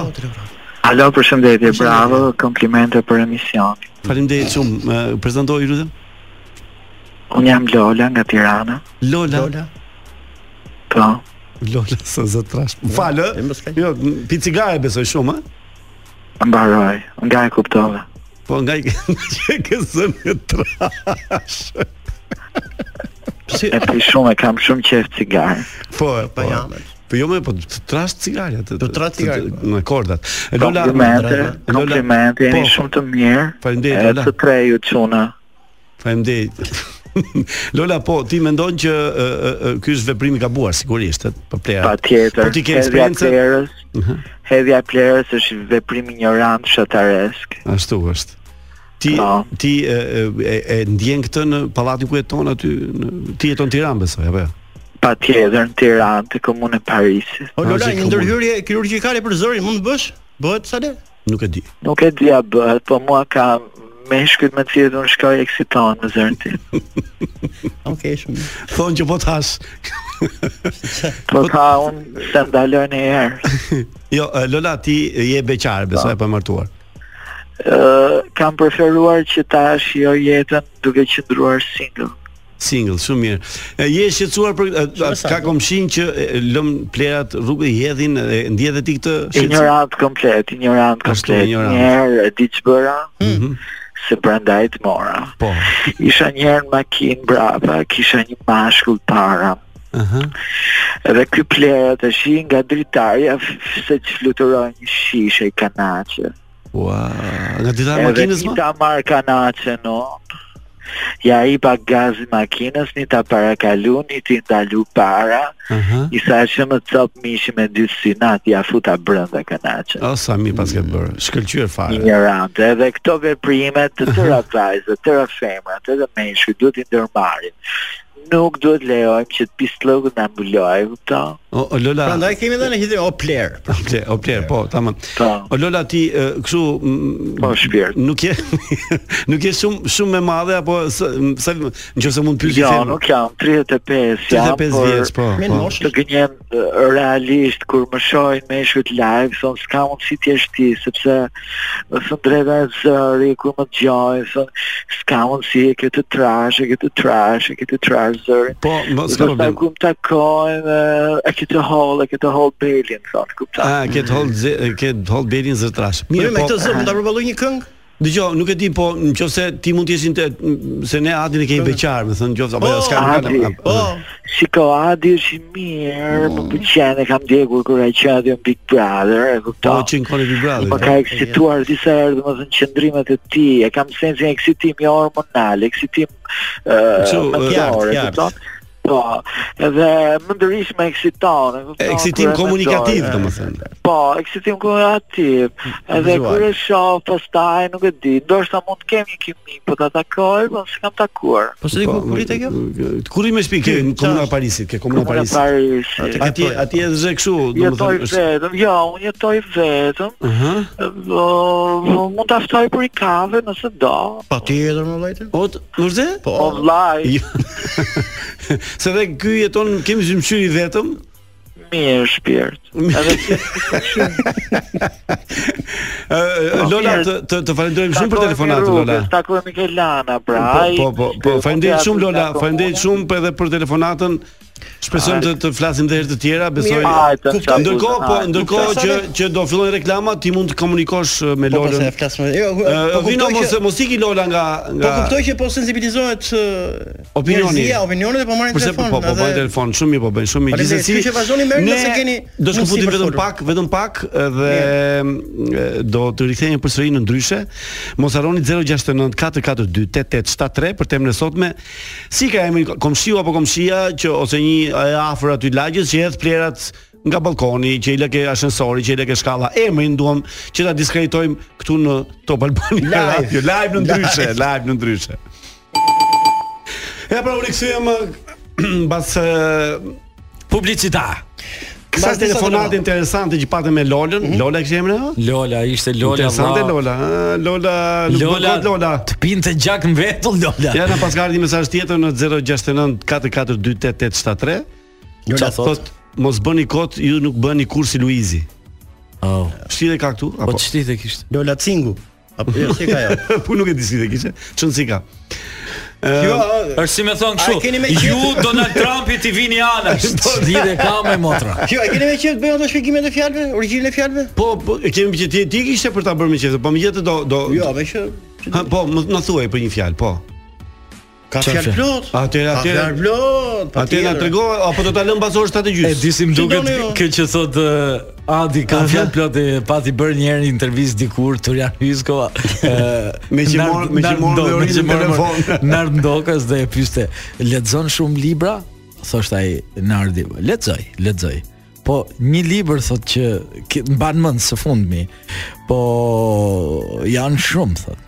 Alo, përshëndetje, bravo, komplimente për emision. Faleminderit shumë. E, Prezantoj ju lutem. Unë jam Lola nga Tirana. Lola. Lola. Po, Lola sa zot trash. Fal, ë? Jo, m- pi cigare besoj shumë, ë? mbaroj, nga e kuptova. Po nga i që ke zënë trash. E pi shumë, e kam shumë qef cigare. Po, po. Po jo më po të trash cigare atë. Do Po, trash cigare me kordat. E, Lola, Komplimente, komplimente, jeni po, shumë të mirë. Faleminderit, E Lola. të tre ju çuna. Faleminderit. Lola, po ti mendon që ë, ë, ë, ky është veprim i gabuar sigurisht, ë, për plera. Patjetër. Po ti Mhm. ke hedhja eksperiencë. plerës, Hedhja e plerës është veprim ignorant shataresk. Ashtu është. Ti ti e, e- e, e ndjen këtë në pallatin ku jeton aty, në, ti jeton në Tiranë besoj apo jo? Patjetër në Tiranë, të komunë e Parisit. O Lola, një ndërhyrje kirurgjikale për zërin mund të bësh? Bëhet sa le? Nuk e di. Nuk e di a bëhet, po mua ka meshkujt me të cilët unë shkoj eksiton me zërin tim. Okej, shumë. mirë. Thonë që po të hash. Po ka unë se ndaloj në herë. Jo, e, Lola, ti je beqar besoj Po. apo e martuar. Ë, kam preferuar që ta shijoj jetën duke qëndruar single. Single, shumë mirë. E, Je shqetësuar për e, a- ka komshin që e, e, lëm plerat rrugë i hedhin e ndje edhe ti këtë shqetësim? Ignorant komplet, ignorant Ashtu, komplet. ignorant. Njerë, e di që bëra, Hmm. se prandaj të mora. Po. Isha njerë në makinë brapa, kisha një mashkull para. Aha. Edhe ky plera të shi nga dritarja f- se që fluturoj një shishe i kanaqe. Ua, nga dita e Edhe makinës një më? ta marë kanaqe në Ja i pa gazi makinës, një ta parakalu, një ti ndalu para, i sa që më cop mishi me dy sinat, ja futa brënda kanaqe. O, sa mi pas ke bërë, shkëlqyer fare. ignorante edhe këto veprime të tëra vajzat, të tëra femrat, edhe meshkujt duhet i ndërmarrin. Nuk duhet lejojmë që të pislloku na mbulojë, kupton? O, o Lola. Prandaj kemi dhënë hidhje o pler. O, ple- O pler, po, tamam. O Lola ti e, kështu po shpirt. Nuk je nuk je shumë shumë e madhe apo sa sa- nëse mund të pyeti Jo, femër. nuk jam 35 jam. 35 por vjeç, po, Me po. noshësh. Të gënjen e, realisht kur më shohin me shkut live, thon s'ka mundësi të jesh ti, sepse më thon drejta e zëri kur më dëgjojnë, thon s'ka mundësi e ke të trash, e ke të trash, e ke të trash zërin. Po, mos ka problem. Kur më takojnë, e ke të holl, e ke të holl belin, thon, kupton? A, ke të hold ze- ke të hold belin zërtrash. Mirë, Po, me këtë zë mund ta përballoj një këngë? Dgjoj, po, nuk e di, po nëse ti mund të jesh inte- se ne Adin e Po. kemi beqar, më thënë qoftë apo jo, s'ka Oh, Adi, Shiko, Adi është i mirë, më pëlqen e kam djegur kur ai qenë aty në Big Brother, e Po kupton? që në kone Big Brother. Po ka eksituar disa herë, domethënë qendrimet e tij, e kam sensin e eksitim jo hormonal, eksitim Kështu, ë ë, mendor, qartë, e kupton? Po, edhe më ndërish me eksiton, e kupton? Eksitim kur e komunikativ, mendoj. domethënë. Po, eksitim komunikativ. Edhe Vizual. kur e shoh pastaj nuk e di, ndoshta mund të kem një kimi, po ta takoj, po s'kam takuar. Po se di ku kur kjo? Kurri me shtëpi ke në komuna e Parisit, ke komuna e Komuna e Parisit. Parisit. Atje atje është kështu, Jetoj domethënë është. vetëm, jo, unë jetoj vetëm, Aha. Uh, mund ta ftoj për i kave nëse do. Patjetër më vllajtë. O, t- vërtet? Po, vllaj. Jo. Se dhe ky jeton kemi zymshyri vetëm. Mirë shpirt. Edhe Ë Lola të të, të falenderojmë shumë për Takohemi telefonatën Lola. rrugës, Takohemi ke Lana, pra. ai- Po, po, po, po faleminderit shumë Lola, Takohemi. faleminderit shumë për edhe për telefonatën. Shpresojmë të të flasim edhe herë të tjera, besoj. Mirë, hajtë, Kuptoj. Ndërkohë, po, hajtë. ndërkohë Kuptoj, që Sami. që do fillojnë reklamat, ti mund të komunikosh eh, me Po, po, Lolën. se flas me- jo, po, Eh, po, vino kuptoj mos që- mos iki Lola nga Po nga kuptoj që po sensibilizohet ë, Opinioni. njerëzia, opinionet e po marrin Përse po telefon. po po edhe- bëjnë telefon, shumë mirë po bëjnë, shumë mirë. Faleminderit, kështu që vazhdoni merrni ne nëse keni do mundësi shkëputim për vetëm folur. pak, vetëm pak dhe e, do të rikthehemi përsëri në ndryshe. Mos harroni 069 442 8873 për temën e sotme. Si ka emrin komshiu apo komshia që ose një e afër aty lagjës që hedh plerat nga balkoni, që i lë ke ashensori, që i lë ke shkalla. Emrin duam që ta diskreditojmë këtu në Top Albani Radio, live në ndryshe, Live. live në ndryshe. Ja pra u rikthyem mbas publicita. Kësa telefonat Mbas disa telefonate. Mhm. interesante që patëm me Lolën, Lola e kishte emrin apo? Lola, ishte Lola. Interesante vlla. Lola, ha? Lola, nuk Lola, bëhet Lola. Të pinte gjak në vetull Lola. Ja na pas ka ardhi mesazh tjetër në 069 44288873. Lola Qa thot. mos bëni kot, ju nuk bëni kur si Luizi. Oh. Shtite ka këtu apo? Po çtite kishte. Lola Cingu. Apo jo, si ka ajo? Po nuk e di si te kishte. Çon si ka. Ehm, Jo, Është si më thon A e keni me kështu, qef? ju Donald Trumpi ti vini anash. Po, Lidhe ka me motra. Jo, e keni me qejf të bëjmë ato shpjegimet e fjalëve, origjinën e fjalëve? Po, po e kemi që ti ti kishte për ta bërë me qefë, po megjithëse do do Jo, me që Ha, po, më na thuaj për një fjalë, po. Ka Çfarë fjalë plot. Atëherë, Ka atëherë. fjalë plot. Atëherë na patjetër. trego apo do ta lëm pas orës 7:30. E di si më duket jo. kjo që thot ë, Adi ka fjalë plot e pati bërë një herë një intervistë dikur Turian eh, Hysko Me që morë- me që morë me Orin në telefon. Nard Ndokës dhe e pyeste lexon shumë libra? Thosht ai Nardi, lexoj, lexoj. Po një libër thot që ki- mban mend së fundmi. Po janë shumë thot.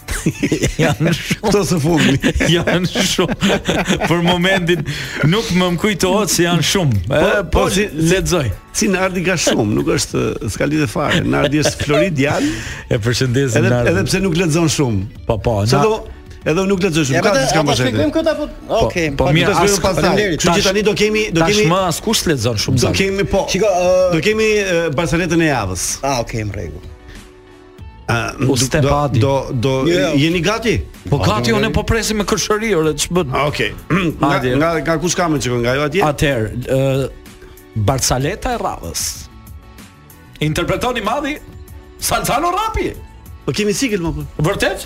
janë shumë. Këto së fundmi. janë shumë. Për momentin nuk më më kujtohet se janë shumë. Po, po, si, lexoj. Si Nardi ka shumë, nuk është s'ka lidhje fare. Nardi është Floridian. E përshëndesim Edhe Nardin. edhe pse nuk lexon shumë. Po po. Se na- do edhe unë nuk lexoj shumë. Ja, Ka po, diçka ata më shëtë. shpjegojmë këtë apo? Okej. po mirë, as faleminderit. Kështu që Tash- tani do kemi do kemi Tashmë askush lexon shumë. do zak. kemi po. Shiko, ë, Do kemi eh, Barceletën e javës. Ah, okay, në rregull. A, U do- step do- Adi. Do do Jo, jo. jeni gati? Po gati unë po Ah, presim me kërshëri orë ç'bën. Okej. Nga Adi. nga nga kush kamë çikon nga ajo atje? Atëherë, ë Barsaleta e radhës. Interpretoni madhi Salzano Rapi. Po kemi sikël më po. Vërtet?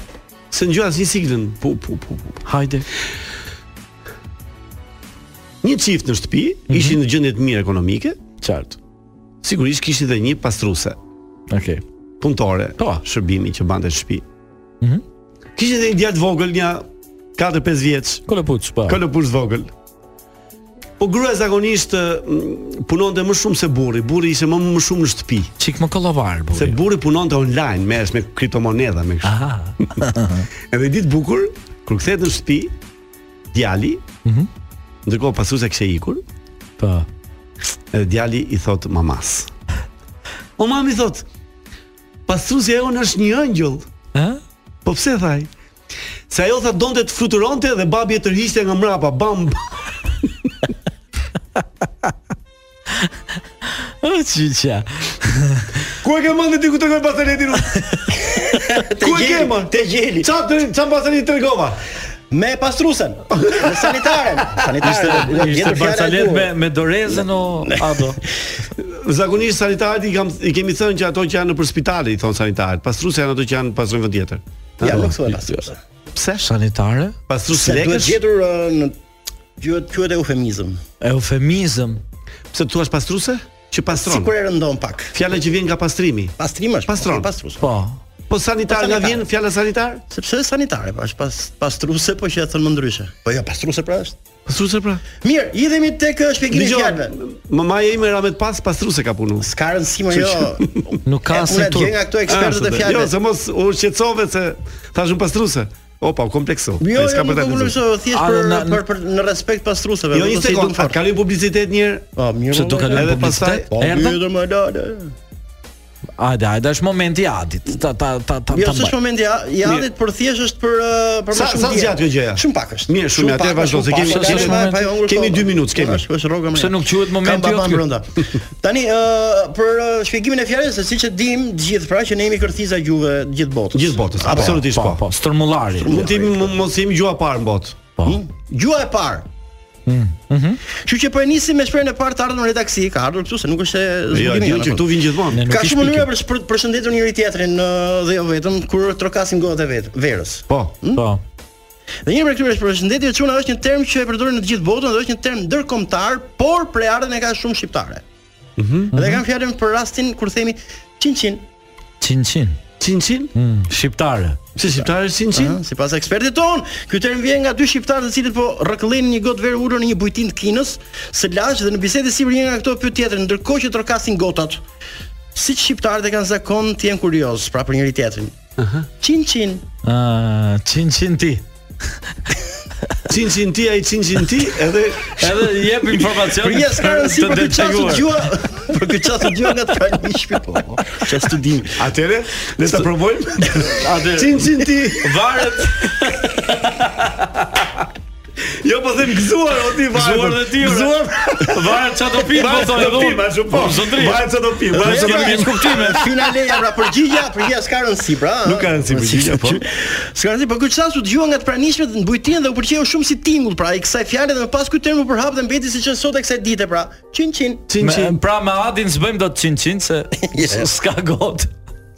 Se ngjua asnjë siklën. Po po po po. Hajde. Një çift në shtëpi, ishin në gjendje të mirë ekonomike, Mhm. Qartë. sigurisht kishin edhe një pastruse. Okej. Po. punëtore, shërbimi që bante në shtëpi. Mhm. Mhm. Mm Kishte edhe një djalë të vogël, një 4-5 vjeç, Kolopuç po. kolopush të vogël. Po gruaja zakonisht ë, m, punonte më shumë se burri. Burri ishte më më shumë në shtëpi. Çik më kollovar Se buri. burri punonte online, merresh me kriptomonedha me kështu. Aha. Edhe ditë bukur, kur kthehet në shtëpi, djali, Mhm. ndërkohë pasuesja kishte ikur, Po. Edhe djali i thot mamas. O mami thot, pastrusja e unë është një ëngjëll. Ë? Po pse thaj? Se ajo tha donte të fluturonte dhe babi e tërhiqte nga mrapa, bam. O çiça. Ku e ke mendë ti ku tregoj pasteletin? Ku e ke mendë? Te gjeli. Ça të- ça pasteletin tregova? Me pastrusen, me sanitaren, sanitaren. Ah, Ishte gjetur ishte fjala e Barsalet duhur. me me dorezën o Ado. Zakonisht sanitarët i, kam, i kemi thënë që ato që janë nëpër spitale i thon sanitarët. Pastrusja janë ato që janë pastrojnë vend tjetër. Ja, nuk thua pastrusen. Pse? Sanitare? Pastrusë Se duhet lekësh? gjetur ë, në quhet quhet eufemizëm. Eufemizëm. Pse tu thuash pastruse? Që pastron. Sikur e rëndon pak. Fjala që vjen nga pastrimi. Pastrim është Pastron. po, pastrus. Po. Po sanitar Po nga sanitar. vjen fjala sanitar? Sepse është sanitare, pa është pas pastruse, po që e thon më ndryshe. Po jo, pastruse pra është. Pastruse pra. Mirë, idhemi tek ë, shpjegimin e Dgjoj, fjalëve. mamaja ime ramet pas pastruse ka punu. S'ka rëndësi më jo. Nuk ka E, asnjë Unë e turp. gjej nga këto ekspertët e Jo, fjalëve. se mos u shqetësove se thashun pastruse. Opa, u komplekso. Jo, Ai s'ka jo, për nuk ta do unë lexuar. mëso thjesht A, na- për për për në respekt pastruseve. Jo, nuk një do si sekond, duhet a fare. kalim publicitet një herë? Po, mirë. Që do valla. kalojmë Edhe publicitet? Po, Erdha? mirë, më lale. Hajde, hajde, është momenti i Adit. Ta ta ta ta. Jo, ta s'është mbaj. momenti ja- i adit, por thjesht është për ë, për më Sa shumë. sa dje. zgjat kjo gjëja? Shumë pak është. Mirë, shumë, atëherë vazhdo, se kemi- kemi- kemi dy minutë, kemi. Është është rroga më. Pse jashtë. nuk quhet momenti jo jot Kam babam ky? brenda. Po. Tani ë për ë, shpjegimin e fjalës se siç e dim të gjithë pra që ne jemi kërthiza gjuhë të gjithë botës. Gjithë botës, Apo, absolutisht Po, po. po, stërmullari. Mund të jemi mos jemi gjua parë në botë. Po. Mm, mhm. Gjuha e parë. Kështu që po e nisim me shprehjen e parë të ardhur në redaksi, ka ardhur këtu se nuk është e Jo, zbulimi, di në që fund. këtu vin gjithmonë. Ne nuk Ka i shumë shpikim. mënyra për shpër- përshëndetur njëri tjetrin ë, dhe jo vetëm kur trokasin gohat e vet, verës. Hm? Po. Po. Dhe një prej këtyre përshëndetje çuna është një term që e përdorin në të gjithë botën dhe është një term ndërkombëtar, por për ardhen e ka shumë Mhm. shqiptare. Mhm. Dhe kam fjalën për rastin kur themi çinçin. Çin çin. sinqin? Shqiptare. Si shqiptare sinqin? Aha, Sipas ekspertit ton, ky term vjen nga dy shqiptarë të cilët po rrëkëllin një gotë verë ulur në një bujtin të Kinës, së lash dhe në bisedë sipër një nga këto pyet tjetrin, ndërkohë që trokasin gotat. Si shqiptarët e kanë zakon të jenë kurioz pra për njëri tjetrin. Aha. Çin çin. Ah, çin çin ti. Çin çin ti ai çin çin ti edhe edhe jep informacion. Për një skarën si të për këtë çasu detajuar. gjua, për këtë çasu gjua nga të kalmi po, shpipo. Çfarë studim? Atëre, le ta provojmë. Atë Çin çin ti. varet Jo po them gëzuar o ti varet. Gëzuar dhe ti, ore. Gëzuar. varet çfarë do pim po Varet thonë çfarë do dhun. pim, ashtu po. Zotri. Varet çfarë do pim, varet Ne çfarë do kemi pim. keq kuptime. Finaleja pra përgjigja, përgjigja s'ka rëndësi pra. a? Nuk ka rëndësi përgjigja, po. S'ka rëndësi, por ky çasu dëgjua nga të pranishmet në bujtin dhe u pëlqeu shumë si tingull pra i kësaj fjale dhe më pas ky term u përhap dhe mbeti siç është sot e kësaj dite pra. Çin çin. Me- Pra me Adin s'bëjmë dot çin çin se s'ka got.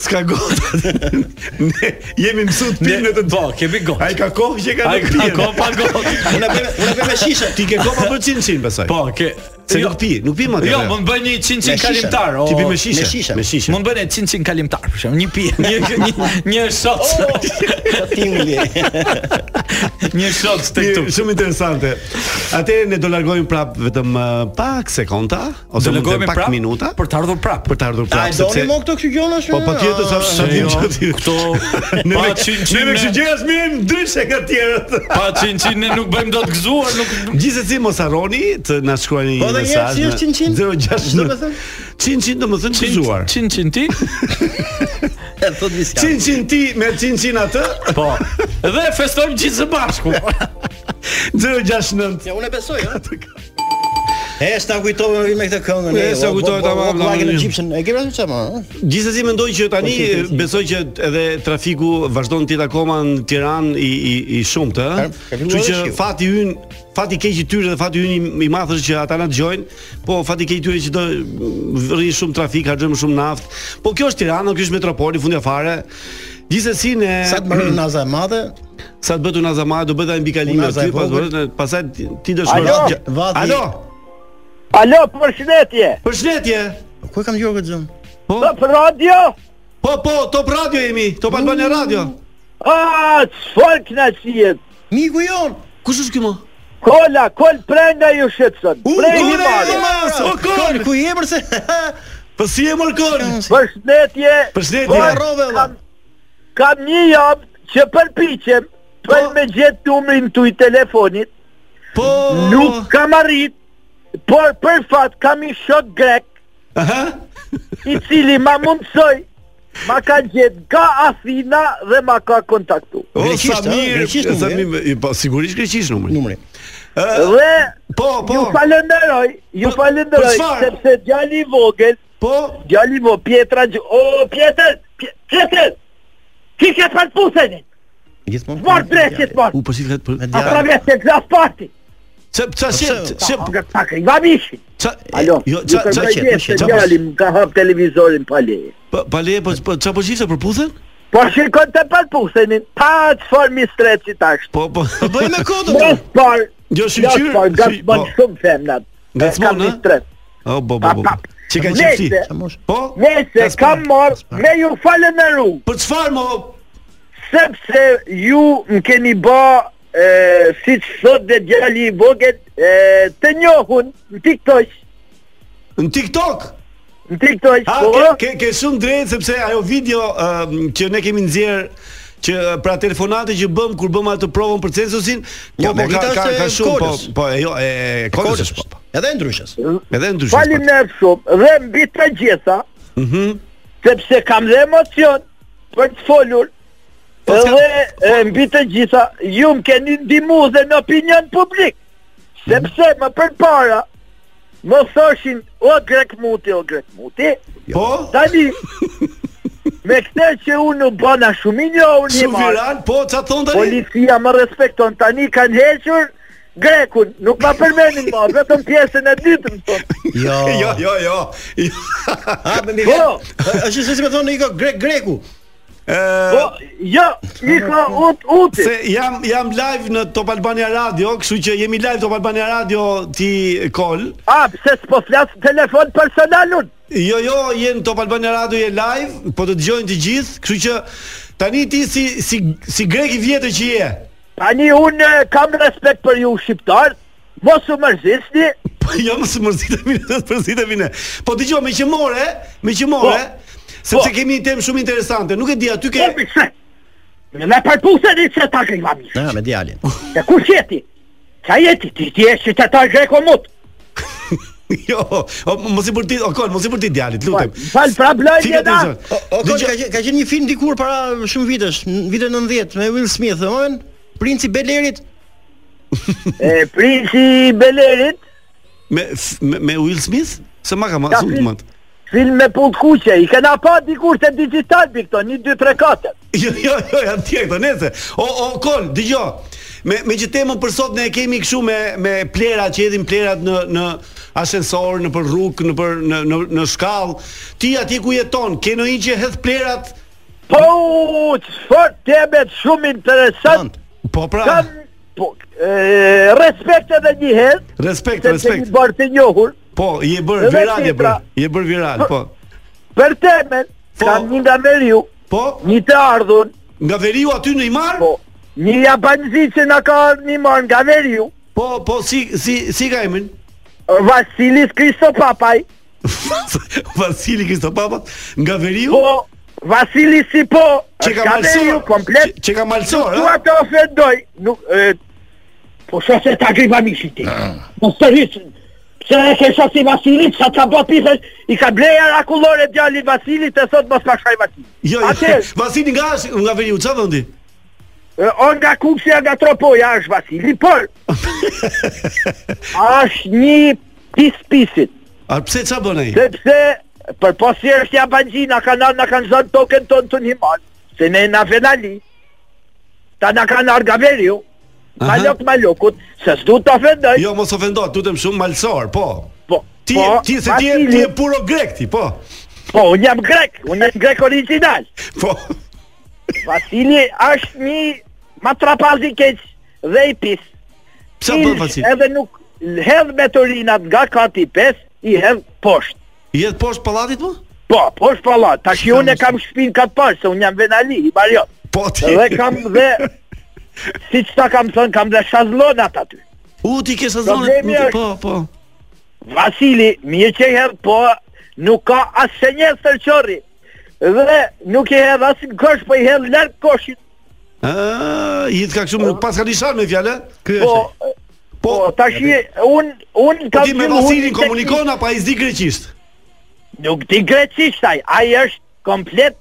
S'ka got. ne jemi mësuar të pimë të Po, kemi got. Ai ka kohë që ka Ai të ka pijë. kohë pa got. Unë e bëj unë e bëj me shishe. Ti ke kohë pa bërë çin çin besoj. Po, ke Se Jo, nuk pi, nuk pi më atë. Jo, mund bëj një çin çin Me shishe. kalimtar. Oh, o- Ti pi me shishe. me shishe. Me shishe. Mund bëni çin çin kalimtar, për shemb, një pije, një një një shot, Ka tingulli. një shot tek Mirë, tu. Shumë interesante. Atëherë ne do largohemi prap vetëm uh, pak sekonda ose mund të Do largohemi them pak prap minuta për të ardhur prap. për të ardhur A prap e doni mo këto këtu gjona Po patjetër sa sa dim që ti. Këto Ne pa me çin ne çin. me kështu gjëra smirim ndryshe nga tjerët. Pa çin çin ne nuk bëjmë dot gëzuar, nuk Gjithsesi mos harroni të na shkruani Po një dhe njerë, mesazh. si është qin qin? Domethënë? 069. Çin çin domethënë gëzuar. Çin çin ti? Thot disa. Çin çin ti me çin çin atë Po. Dhe festojmë gjithë së bashku. 069. Ja unë e besoj, ha. E s'ta kujtove më vi me këtë këngën. E, s'ta kujtove, tamam, tamam. tamam. në gjipshin. E ke parasysh çama? ha? Gjithsesi mendoj që tani Po, si, si, si. besoj që edhe trafiku vazhdon të jetë akoma në Tiranë i i i shumtë, ë. Ka- ka filluar Kështu që dhe shiu. fati ynë, fati keq i tyre dhe fati ynë i- i madh është që ata na dëgjojnë, po fati keq i tyre që do rri shumë trafik, harxhojmë shumë naftë. Po kjo është Tirana, kjo është metropoli fundja fare. Gjithsesi ne Sa të mbaroi naza e madhe? sa të bëtu nazama, do bëta mbi kalime Unaza e aty, pas vogël. bëhet- pastaj ti- ti do Alo? shkruash. gja- Vati. Alo, Alo, përshëndetje. përshëndetje. Ku e kam dëgjuar këtë gjë? Po, Top radio? po, po, Top Radio jemi, Top Albania Mm. Radio. A, çfarë kënaqësie. Miku jon. Kush është ky mo? Kola, kol prenga ju shqetëson. Prej kol, një marrë. e, mos, o, kol. ku je përse? Po si e mërkon? Përshëndetje. Përshëndetje. po, Harrove, valla. kam- Kam një javë që përpiqem për me gjetë numrin tuaj telefonit. Po. Nuk kam arrit, por për fat kam i shok grek, Aha. i cili ma mundësoj, ma ka gjetë nga Athina dhe ma ka kontaktu. O Greqisht, sa ha? mirë, Greqisht numri, sa mirë, po sigurisht greqisht numri. Numri. Dhe Po, po. ju falenderoj, ju Për- për falenderoj, çfarë? sepse djali i vogël, Po. djali mo Pjetra, Gjo- o Pjetër, Pje- Pjetër, ti ke falë pusenin, Gjithmonë. morë bresjet morë, U po si flet për. a pra vresje glas parti, Çe çe çe çe nga pakri, nga mishi. çe. Alo, Jo, ju çe kërkoj çe gjestë çe. se djali më ka hap televizorin pa leje. Pa le, po po, çfarë po shifte për puthen? Po shikon të pat pusenin, pa që farë mi streci tash. Po po. Po bëj me kodën. Mos par, Jo mos shqyrë. par, shi- gatë po. bën shumë femnat. Gacmon, Kam ha? një stres. O bo bo bo. Pa, pa. Çe ka qenë ti? Lejte. Po. Nëse Gaspar, kam marrë, me ju falën e ru, Për çfarë mo? sepse ju më keni ba, e, si që thot dhe djali i vogët, e, të njohun, në tiktosh, Në TikTok. në tiktosh, Ha, po, ke, ke, ke shumë drejtë sepse ajo video ëm, që ne kemi nxjerr që ë, pra telefonate që bëm kur bëm atë provën për censusin, po Jo, po me ka këtë ka, është ka e shumë po kolës. po e jo e e kolës është, po. Edhe e ndryshës. Edhe ndryshim. falim në shumë, dhe mbi të gjitha, Mhm. sepse kam dhe emocion për të folur, Po, s'ka- dhe e, mbi të gjitha, ju më keni ndimu dhe në opinion publik, Mhm. sepse më përpara, më thoshin, o grek muti, o grek muti, Po? tani, me këtë që unë u bëna shumë i njohur një Shumë marë, viral, po ça thon tani? policia më respekton, tani kanë hequr, Grekun, nuk ma përmenin ma, vetëm pjesën e dytën, po. thonë. Jo. Jo, jo, jo. Jo. Ha, më mirë. Po, Është se si më thonë Iko grek greku. Ë po, jo, Iko, ut, uti. se jam jam live në Top Albania Radio, kështu që jemi live Top Albania Radio ti kol. A, pse s'po flas në telefon personal unë? Jo, jo, jenë Top Albania Radio je live, po të dëgjojnë të gjithë, kështu që tani ti si si si grek i vjetër që je. Tani unë eh, kam respekt për ju shqiptarë, mos u mërzisni. Po jo mos u mërzitemi, mos mërzitemi ne. Po dëgjoj me qëmore, me qëmore, Po, sepse kemi një temë shumë interesante. Nuk e di aty ke Me përpusën i që ta gëjvami. Ah, Na, me djalin. E ku jeti? Qa jeti? Ti ti e qytetar greko mut. Jo, o, mos i përtit, o kol, mos i përtit djalit, lutem. Fal pra blojnë Fikat jeta. e zonë. O, o, ka, qe- ka qenë një film dikur para shumë vitesh, në vitet 90 me Will Smith, e morën? Princi Belerit. E princi Belerit me f- me, me Will Smith? Se ma ka ma, Ka s'u film. më. Film me pull kuqe, i kena pa dikur se digital bi këto, një, dy, tre, katër. Jo, jo, jo, janë tjerë këto nese. O, o, kol, dëgjoj. Me me që temën për sot ne e kemi kështu me me plera që hedhin plerat në në ashensor, në për rrugë, në për në në, në shkallë. Ti atje ku jeton, ke ndonjë që hedh plerat? Po, çfarë teme shumë interesant. Po pra. Kam po, e, respekt edhe një herë. Respekt, se respekt. Kemi bërë të njohur. Po, je bërë Dhe viral je tjetra, bërë. Je bërë viral, po. Për temën, kam një nga Veriu. Po. Një të ardhun. Nga Veriu aty në Imar? Po. Një japanzi që na ka ardhur në Imar nga Veriu. Po, po si si si ka emrin? Vasilis Kristopapaj. Vasili Kristopapa nga Veriu? Po, Vasili si po, Që ka është malsor, Gabriel, komplet. që- që ka malsor, ë? Nuk dua të ofendoj, nuk e, po shoh se ta gripa mishin ti. Ah. Po Mos të hiç. Pse e ke shoh si Vasilit, sa ta bë pithë, i ka bleja rakullore djalit Vasilit e thot mos pa shkaj Vasilit. Jo, jo. Atëherë, Vasili nga është- nga Veriu, çfarë vendi? e, o nga kupsi nga tropoja është Vasili, por është një pis pisit. A pse çfarë bën ai? Sepse për posi është japanxhi na kanë na kanë zënë tokën tonë të himal. Se ne na fenali. Ta na kanë argaveriu. Aha. Malok malokut, se s'du të ofendoj. Jo, mos ofendo, tutem shumë malsor, po. Po. Ti po, ti se ti je Vasili- ti je puro grek ti, po. Po, unë jam grek, unë jam grek original. Po. Vasili është një matrapaz i keq dhe i pis. Pse Ish bën Vasili? Edhe nuk hedh me torinat nga kati 5, i hedh poshtë. I jetë poshtë pallatit më? Po, poshtë pallat. Tash jo unë e kam shtëpinë kat parë, se unë jam Venali, i Bariot. Po ti. Dhe kam dhe siç ta kam thënë, kam dhe shazllonat aty. U ti ke Problemi sezonit. është- Po, po. Vasili, mirë që i hedh, po nuk ka asë një sërqori. Dhe nuk i hedh asë në kosh, po i hedh larg koshit. Ë, i jetë ka kështu me- pas ka nishan me fjalë. Ky Po, është. po, tash i- un un Po kam ti me qenë unë Vasilin i komunikon apo ai zdi greqisht? Nuk di greqisht ai, ai është komplet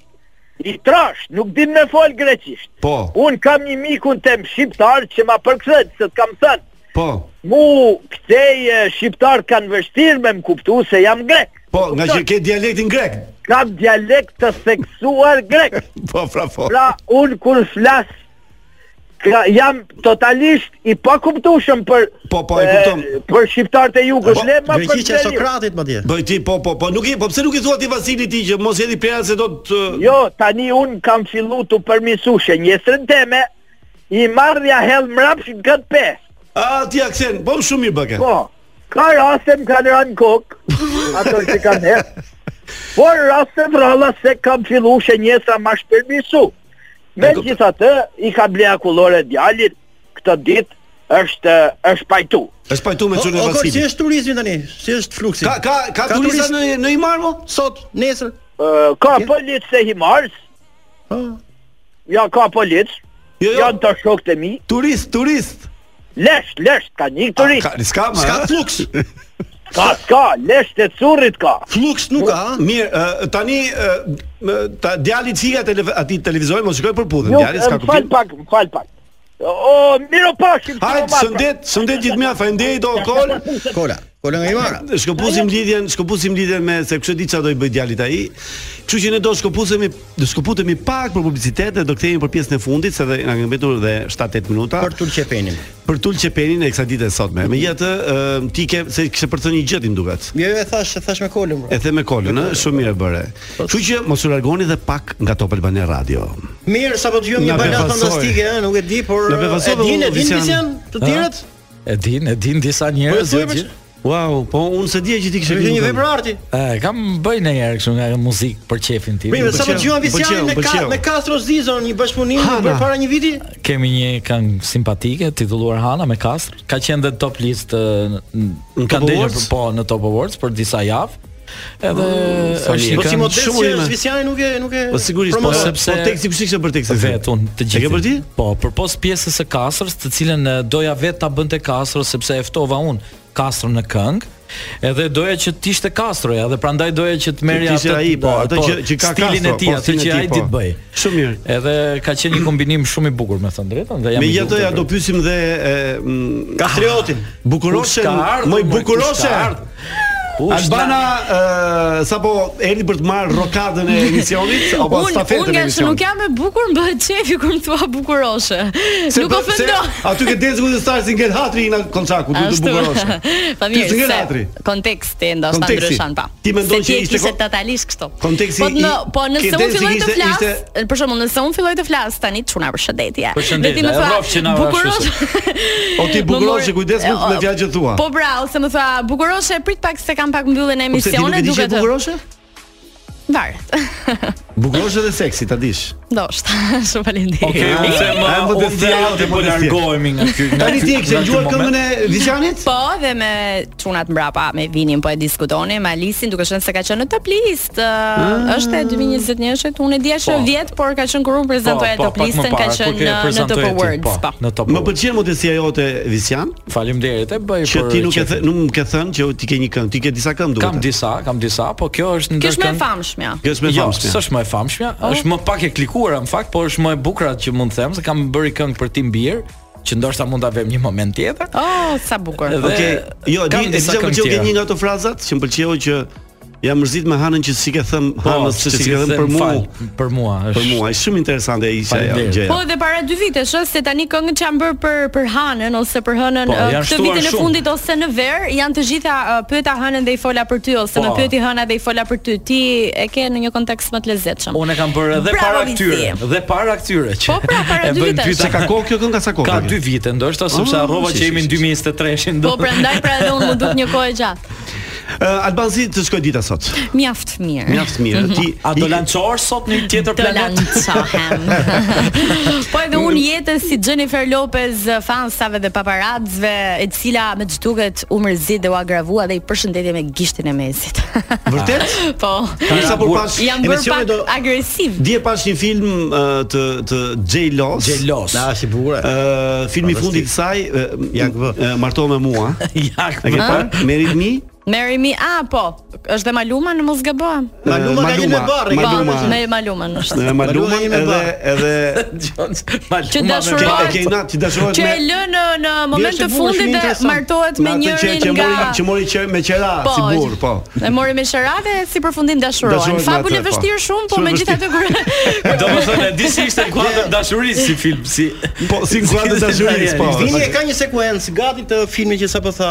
i trash, nuk di me fol greqisht. Po. Un kam një mikun tem shqiptar që ma përkthet se t'kam thënë, Po. mu këtej e, shqiptar kanë vështirë me më kuptu se jam grek. Po, nga që ke dialektin grek. Kam dialekt të theksuar grek. Po, pra po. Pra un kur flas ka, jam totalisht i pakuptueshëm për Po, po, e kuptom. e, për shqiptarët e jugut. Le ma për Greqishtja Po, e Beliu. Sokratit madje. Po ti po po po nuk i po pse nuk i thua ti Vasilit ti që mos hedhi plerat se do të Jo, tani un kam fillu të përmisushe njësën teme, i marrja hell mrapsh në këtë pesë. A ti aksen, po më shumë mirë bëke. Po, ka raste më kanë ranë kokë, ato që kanë herë, por raste më ralla se kam fillu shë njësa ma shpërmisu. Me gjitha të, i ka blea kullore djalit, këtë ditë është, është pajtu. Është pajtu me O, çunë o, kol, si Vasilin. është turizmi tani? Si është fluksi? Ka ka ka turista turist në në Imar mo? sot, nesër? Ë, Ka policë se himarës, ja ka policë, Jo, jo. janë të shokët e mi, Turist, turist. lesh, lesh, ka një turistë. Ka ska më. S'ka a? fluks. Ka, ka, lesh të currit ka. Fluks nuk ka, ha? Mirë, ë, tani ë, m- ta djali fikat telev aty televizorin mos shikoj për pudhën. Nuk, Djali s'ka më fal kuptim. pak, më fal pak. O, miro pashim. Hajt, shëndet, shëndet gjithmonë, faleminderit o kol. Kola, kola nga Imara. Shkëpusim lidhjen, shkëpusim lidhjen me se kush e di çfarë do i bëj djalit ai. Kështu që ne do shkëpusemi, do shkëputemi pak për publicitet dhe do kthehemi për pjesën e fundit, se dhe na kanë mbetur edhe 7-8 minuta. Për Tulqepenin. për tul qepenin e kësaj dite sotme. Megjithatë, ë, ti ke se kishe për të një gjë ti më duket. Jo, jo, e thash, e thash me kolën. bro. E the me kolën, ë, shumë mirë e bëre. Kështu që mos u largoni dhe pak nga Top Albania Radio. Mirë, sapo dëgjojmë Na një balad befasoj. fantastike, ë, nuk e di, por Na e befasoj, din, e u, din Vizian. Vizian, të Ha? tjerët? E din, e din disa Po e njerëz. thuaj jo për gjithë. sh- Wow, po unë se dija që ti kishe Ke një këngë. vepër arti. E, kam bëj në herë kështu nga muzikë për qefin tim. Prime, Po, sa më dëgjova Vicianin me ka, me Castro Zizo në një bashkëpunim që bërë para një viti. Kemi një këngë simpatike titulluar Hana me Kastr. Ka qenë dhe top list në Top ndelur Awards? po në Top Awards për disa javë. Edhe Oh, sa është mirë. një Po si këngë modest shumë që ime. është Viciani nuk e nuk e. Po sigurisht, po promovon. sepse po teksti kush i kishte bërë tekstin? Vet unë të gjithë. E ke bërë ti? Po, përpos pjesës së Kastrës, të cilën eh, doja vetë ta bënte Kastro sepse e ftova unë Kastrën në këngë. Edhe doja që të ishte Kastroja dhe prandaj doja që të merrja T'ishte ai, po, atë që që ka stilin e Castro, tij, po, atë stilin e që tij, ai po. ditë bëj. Shumë mirë. Edhe ka qenë një kombinim shumë i bukur me thënë drejtën dhe jam i Megjithatë ja lumtur. do pyesim dhe e, mm, Kastriotin. Ah, Bukuroshe, Kush ka ardhur, më i more, kush bukuroshe. ka ardhur? Kush Albana e, sapo erdhi për të marrë rokadën e emisionit apo Unë stafetën unë e nga që nuk emisionit. jam e bukur bëhet çefi kur më thua bukuroshe. Nuk bë- ofendo. se Aty ke denzë ku të star si ngel hatri në konçaku, duhet të bukuroshe. pa Ty mirë, s'ngel se hatri. konteksti ndoshta Konteksti. ndryshon pa. Ti mendon Se që e ishte kishe kon- totalisht kështu. konteksti Po i- në, po nëse ke unë denzë filloj të ishte- flas, ishte- për shembull, nëse unë filloj të flas tani çuna përshëndetje. Përshëndetje, Dhe ti më e thua, rrofë që na ora "Bukuroshe." O ti Më mori- bukuroshe, kujdes me me fjalët që thua. Po bra, ose më thua bukuroshe, prit pak se kam pak mbylljen e Po pse ti nuk emisionit, e di që duke e bukuroshe? Varet. Bukuroshe dhe seksi, ta dish. Ndoshta. Shumë faleminderit. Okej, Okej, pse më- Ah, unë unë dhe dhe ajo Alti të po modestia. largohemi nga ky. nga Tani ky- ti e kishe nga ky ngjuar moment. këngën e Viçanit? Po, dhe me çunat mbrapa, me vinin po e diskutonim, Alisin duke qenë se ka qenë në top list. Ah. Uh, është e 2021-shit, unë e dija që Po. vjet, por ka qenë kur unë prezantoja Po, po, top pak më listën, ka para, kur ke qenë uh, në- në top prezantoje ti, awards, po. po. Në top. Më pëlqen modestia jote Visian. Faleminderit, e bëj Që për ti nuk e qefin. the, nuk më ke thënë që ti ke një këngë, ti ke disa këngë duhet. Kam disa, kam disa, po kjo Kjo është ndër është më e këngë- famshmja. Kjo është më e famshmja. Jo, s'është më e famshmja, Oh. është më pak e klikuar në fakt, por është më e bukur atë që mund të them se kam bërë këngë për Tim Beer, që ndoshta mund ta vëmë një moment tjetër. Oh, sa bukur. Dhe- Okej, jo, di, Kam e di disa që më këngë pëlqeu ke tjera. një nga ato frazat që më pëlqeu që jam mërzit me Hanën që si ke thëm Po, Hanës Po, që si ke thëm për mua. fal, për mua është. Për mua është shumë interesante e isha ajo Faleminderit. gjëja. Po dhe para dy vitesh, ëh, se tani këngët që janë bërë për për Hanën ose për Hënën Po, ëh, këtë janë shtuar vitin e shumë. fundit ose në ver, janë të gjitha ëh, pyeta Hënën dhe i fola për ty ose Po. më pyeti Hëna dhe i fola për ty. Ti e ke në një kontekst më të lezetshëm. Pra, Unë e kam bërë edhe Bravo, para Vici. këtyre, dhe para këtyre që. Po pra, para dy vitesh. Se ka kohë kjo këngë sa kohë Ka ka kjo? 2 vite ndoshta, sepse Ah, harrova si, që si, jemi në 2023-shin. Po prandaj pra edhe unë më duk një kohë e gjatë. Ë, Eh, Albanzi të shkoj dita sot. Mjaft mirë. Mhm. Mjaft mirë. Ti a do lançohesh sot në një Të tjetër planet? lançohem. Po edhe unë jetës si Jennifer Lopez fansave dhe paparacëve, e cila me çduket u mërzit dhe u agravua dhe i përshëndetje me gishtin e mesit. Vërtet? po. Ka sa por pas jam bërë emisione pak do- agresiv. Dje pash një film ë, të të J-Los. J-Los. Na është i bukur. Ë filmi i fundit i saj ë marto me mua. Jak. E ke Ah. parë? Merit mi? Marry me. Ah, po. Është dhe Maluma në mos gabohem. Maluma ka qenë me Maluma, barri. Maluma. Po, me Malumën është. Me Malumën edhe edhe Që Ke- dashurohet. Ke na ti dashurohet Që me e lë në në moment Vjesh e të bukur, fundit shumë dhe interesant. martohet me atë që- njërin që mori nga që mori qe- me qera Po, si burr, po. E mori me qera dhe si përfundim dashurohen. Dashurohen me Fabulë atë, po. vështirë shumë, po Shumë e megjithatë kur Domethënë e di si ishte kuadër dashurisë si film, si po si kuadër dashurisë, po. Vini e ka një sekuencë gati të filmit që sapo tha.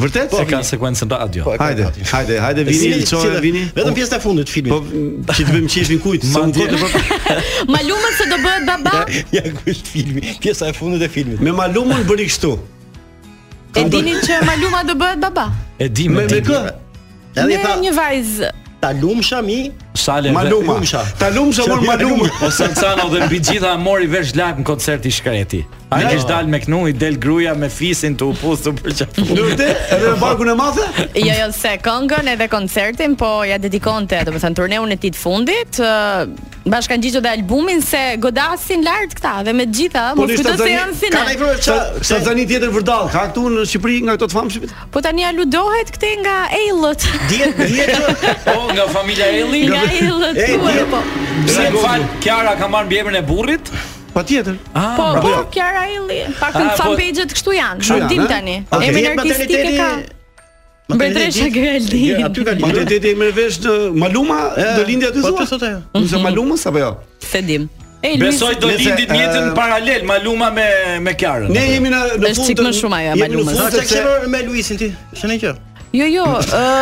Vërtet? Se ka sekuencën radio. Po, e ka Hajde, gati. hajde, hajde Si- vini, si- çojë si- vini. Vetëm pjesa e fundit të filmit. Po që të bëjmë qefin kujt? Se unë kot po Malumën se do bëhet baba, Ja ku është filmi, pjesa e fundit e filmit. me Malumën bëri kështu. e dini që Maluma do bëhet baba. E di Me me kë? Edhe Me i tha një vajzë. ta lumsha mi, Sale Maluma. Lumsha. Ta lumsha mor Maluma. O Salcano dhe mbi gjitha mori vesh live në koncert i shkreti. Ai Ja. kish dal me knu, i del gruaja me fisin të upus të përqafur. Në vërtet, edhe me barkun e madhe? Jo, jo, se këngën edhe koncertin, po ja dedikonte, domethënë turneun e tij të fundit, ë, bashkë kanë gjetur dhe albumin se godasin lart këta dhe me gjitha, Po, Po, mos kujto se janë Ka ndaj final. Sa- Sa tani tjetër vërdall, ka këtu në Shqipëri nga këto të famshmit? Po tani aludohet këte nga Ellët. dihet dihet që Po nga familja Elli. Nga Ellët. E, thuaj, dihet- po. Pse më fal, Kiara ka marrë mbi emrin e burrit? Patjetër. Ah, Po, po, bravo. Kiara Elli. Pakën Ah, po- fanpage-et kështu janë. Kështu Kështu janë, dim eh? tani. Okej. Emrin Dihet artistik e materniteti- ka. Mbretresha materniteti- Geraldine. Ja, Aty ka lidhur. Materniteti e merr vesh në Maluma, do lindi aty Po zua. të sot ajo. Nëse Malumës apo jo? Se dim. Ej, Luis, Besoj do Nëse, lindit në jetën eh, paralel Maluma me me Kiarën. Ne jemi në në Është fund. qik të- më shumë ajo e jemi në Malumës. fund Sa çka sepse- kishe bërë me Luisin ti? Shënë që. jo, jo,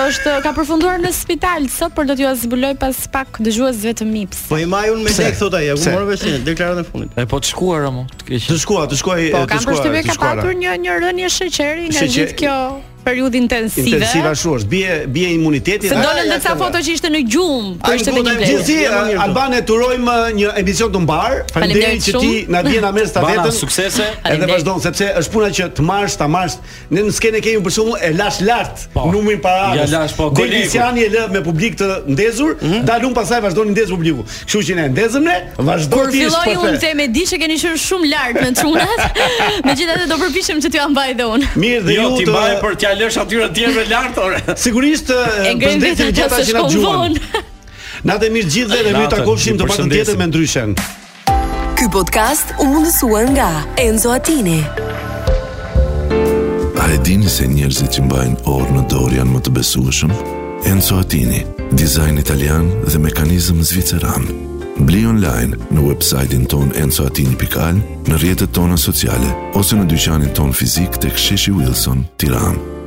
është ka përfunduar në spital sot, por do t'ju zbuloj pas pak dëgjuesve të mips. Po i maj unë me Pse? lek thot ajo, ku Pse? morë vesh ti deklaratën e fundit. E po të shkuar mo, të keq. Të shkuar, të shkuaj, Po të kam shkuar. përshtypjen ka patur një një rënje sheqeri nga Sheqe- gjithë kjo periudhë intensive. Intensiva ashtu është. Bie bie imuniteti. Se dolën dhe ca foto që ishte në gjumë, po ishte në një plejë. Gjithsesi, Albane turojmë një emision të mbar. Faleminderit Faleminderit që ti shumë. na dje na merr Bana, stafetën. suksese. Edhe Faleminderit. vazhdon sepse është puna që të marrësh, ta marrësh. Ne në skenë kemi për shembull e lash lart numrin para. Po. Ja lash, po, Mhm. kolegut. Delisiani e lë me publik të ndezur, dalun pastaj vazhdon i ndez publiku. Kështu që ne ndezëm ne, vazhdo Kur ti. filloi shpërthe. unë të me di që keni qenë shumë lart me çunat, megjithatë do përpiqem që t'ju mbaj dhe unë. Mirë dhe Jo, ju ti të- mbaj për t'ja lësh atyre të tjerëve lart ore. Sigurisht E ngrenë përshëndetje vetë të ato gjitha se që na shkon dëgjuan. vonë. Natë e mirë gjithë dhe ne ju Natën, takofshim ju të patën tjetër përshëndesim. me ndryshen. Ky podcast u mundësua nga Enzo Attini. A e dini se njerëzit që mbajnë orë në dorë janë më të besueshëm? Enzo Attini, dizajn italian dhe mekanizëm zviceran. Bli online në website-in ton enzoatini.al, në rjetët tona sociale, ose në dyqanin ton fizik të ksheshi Wilson, tiranë.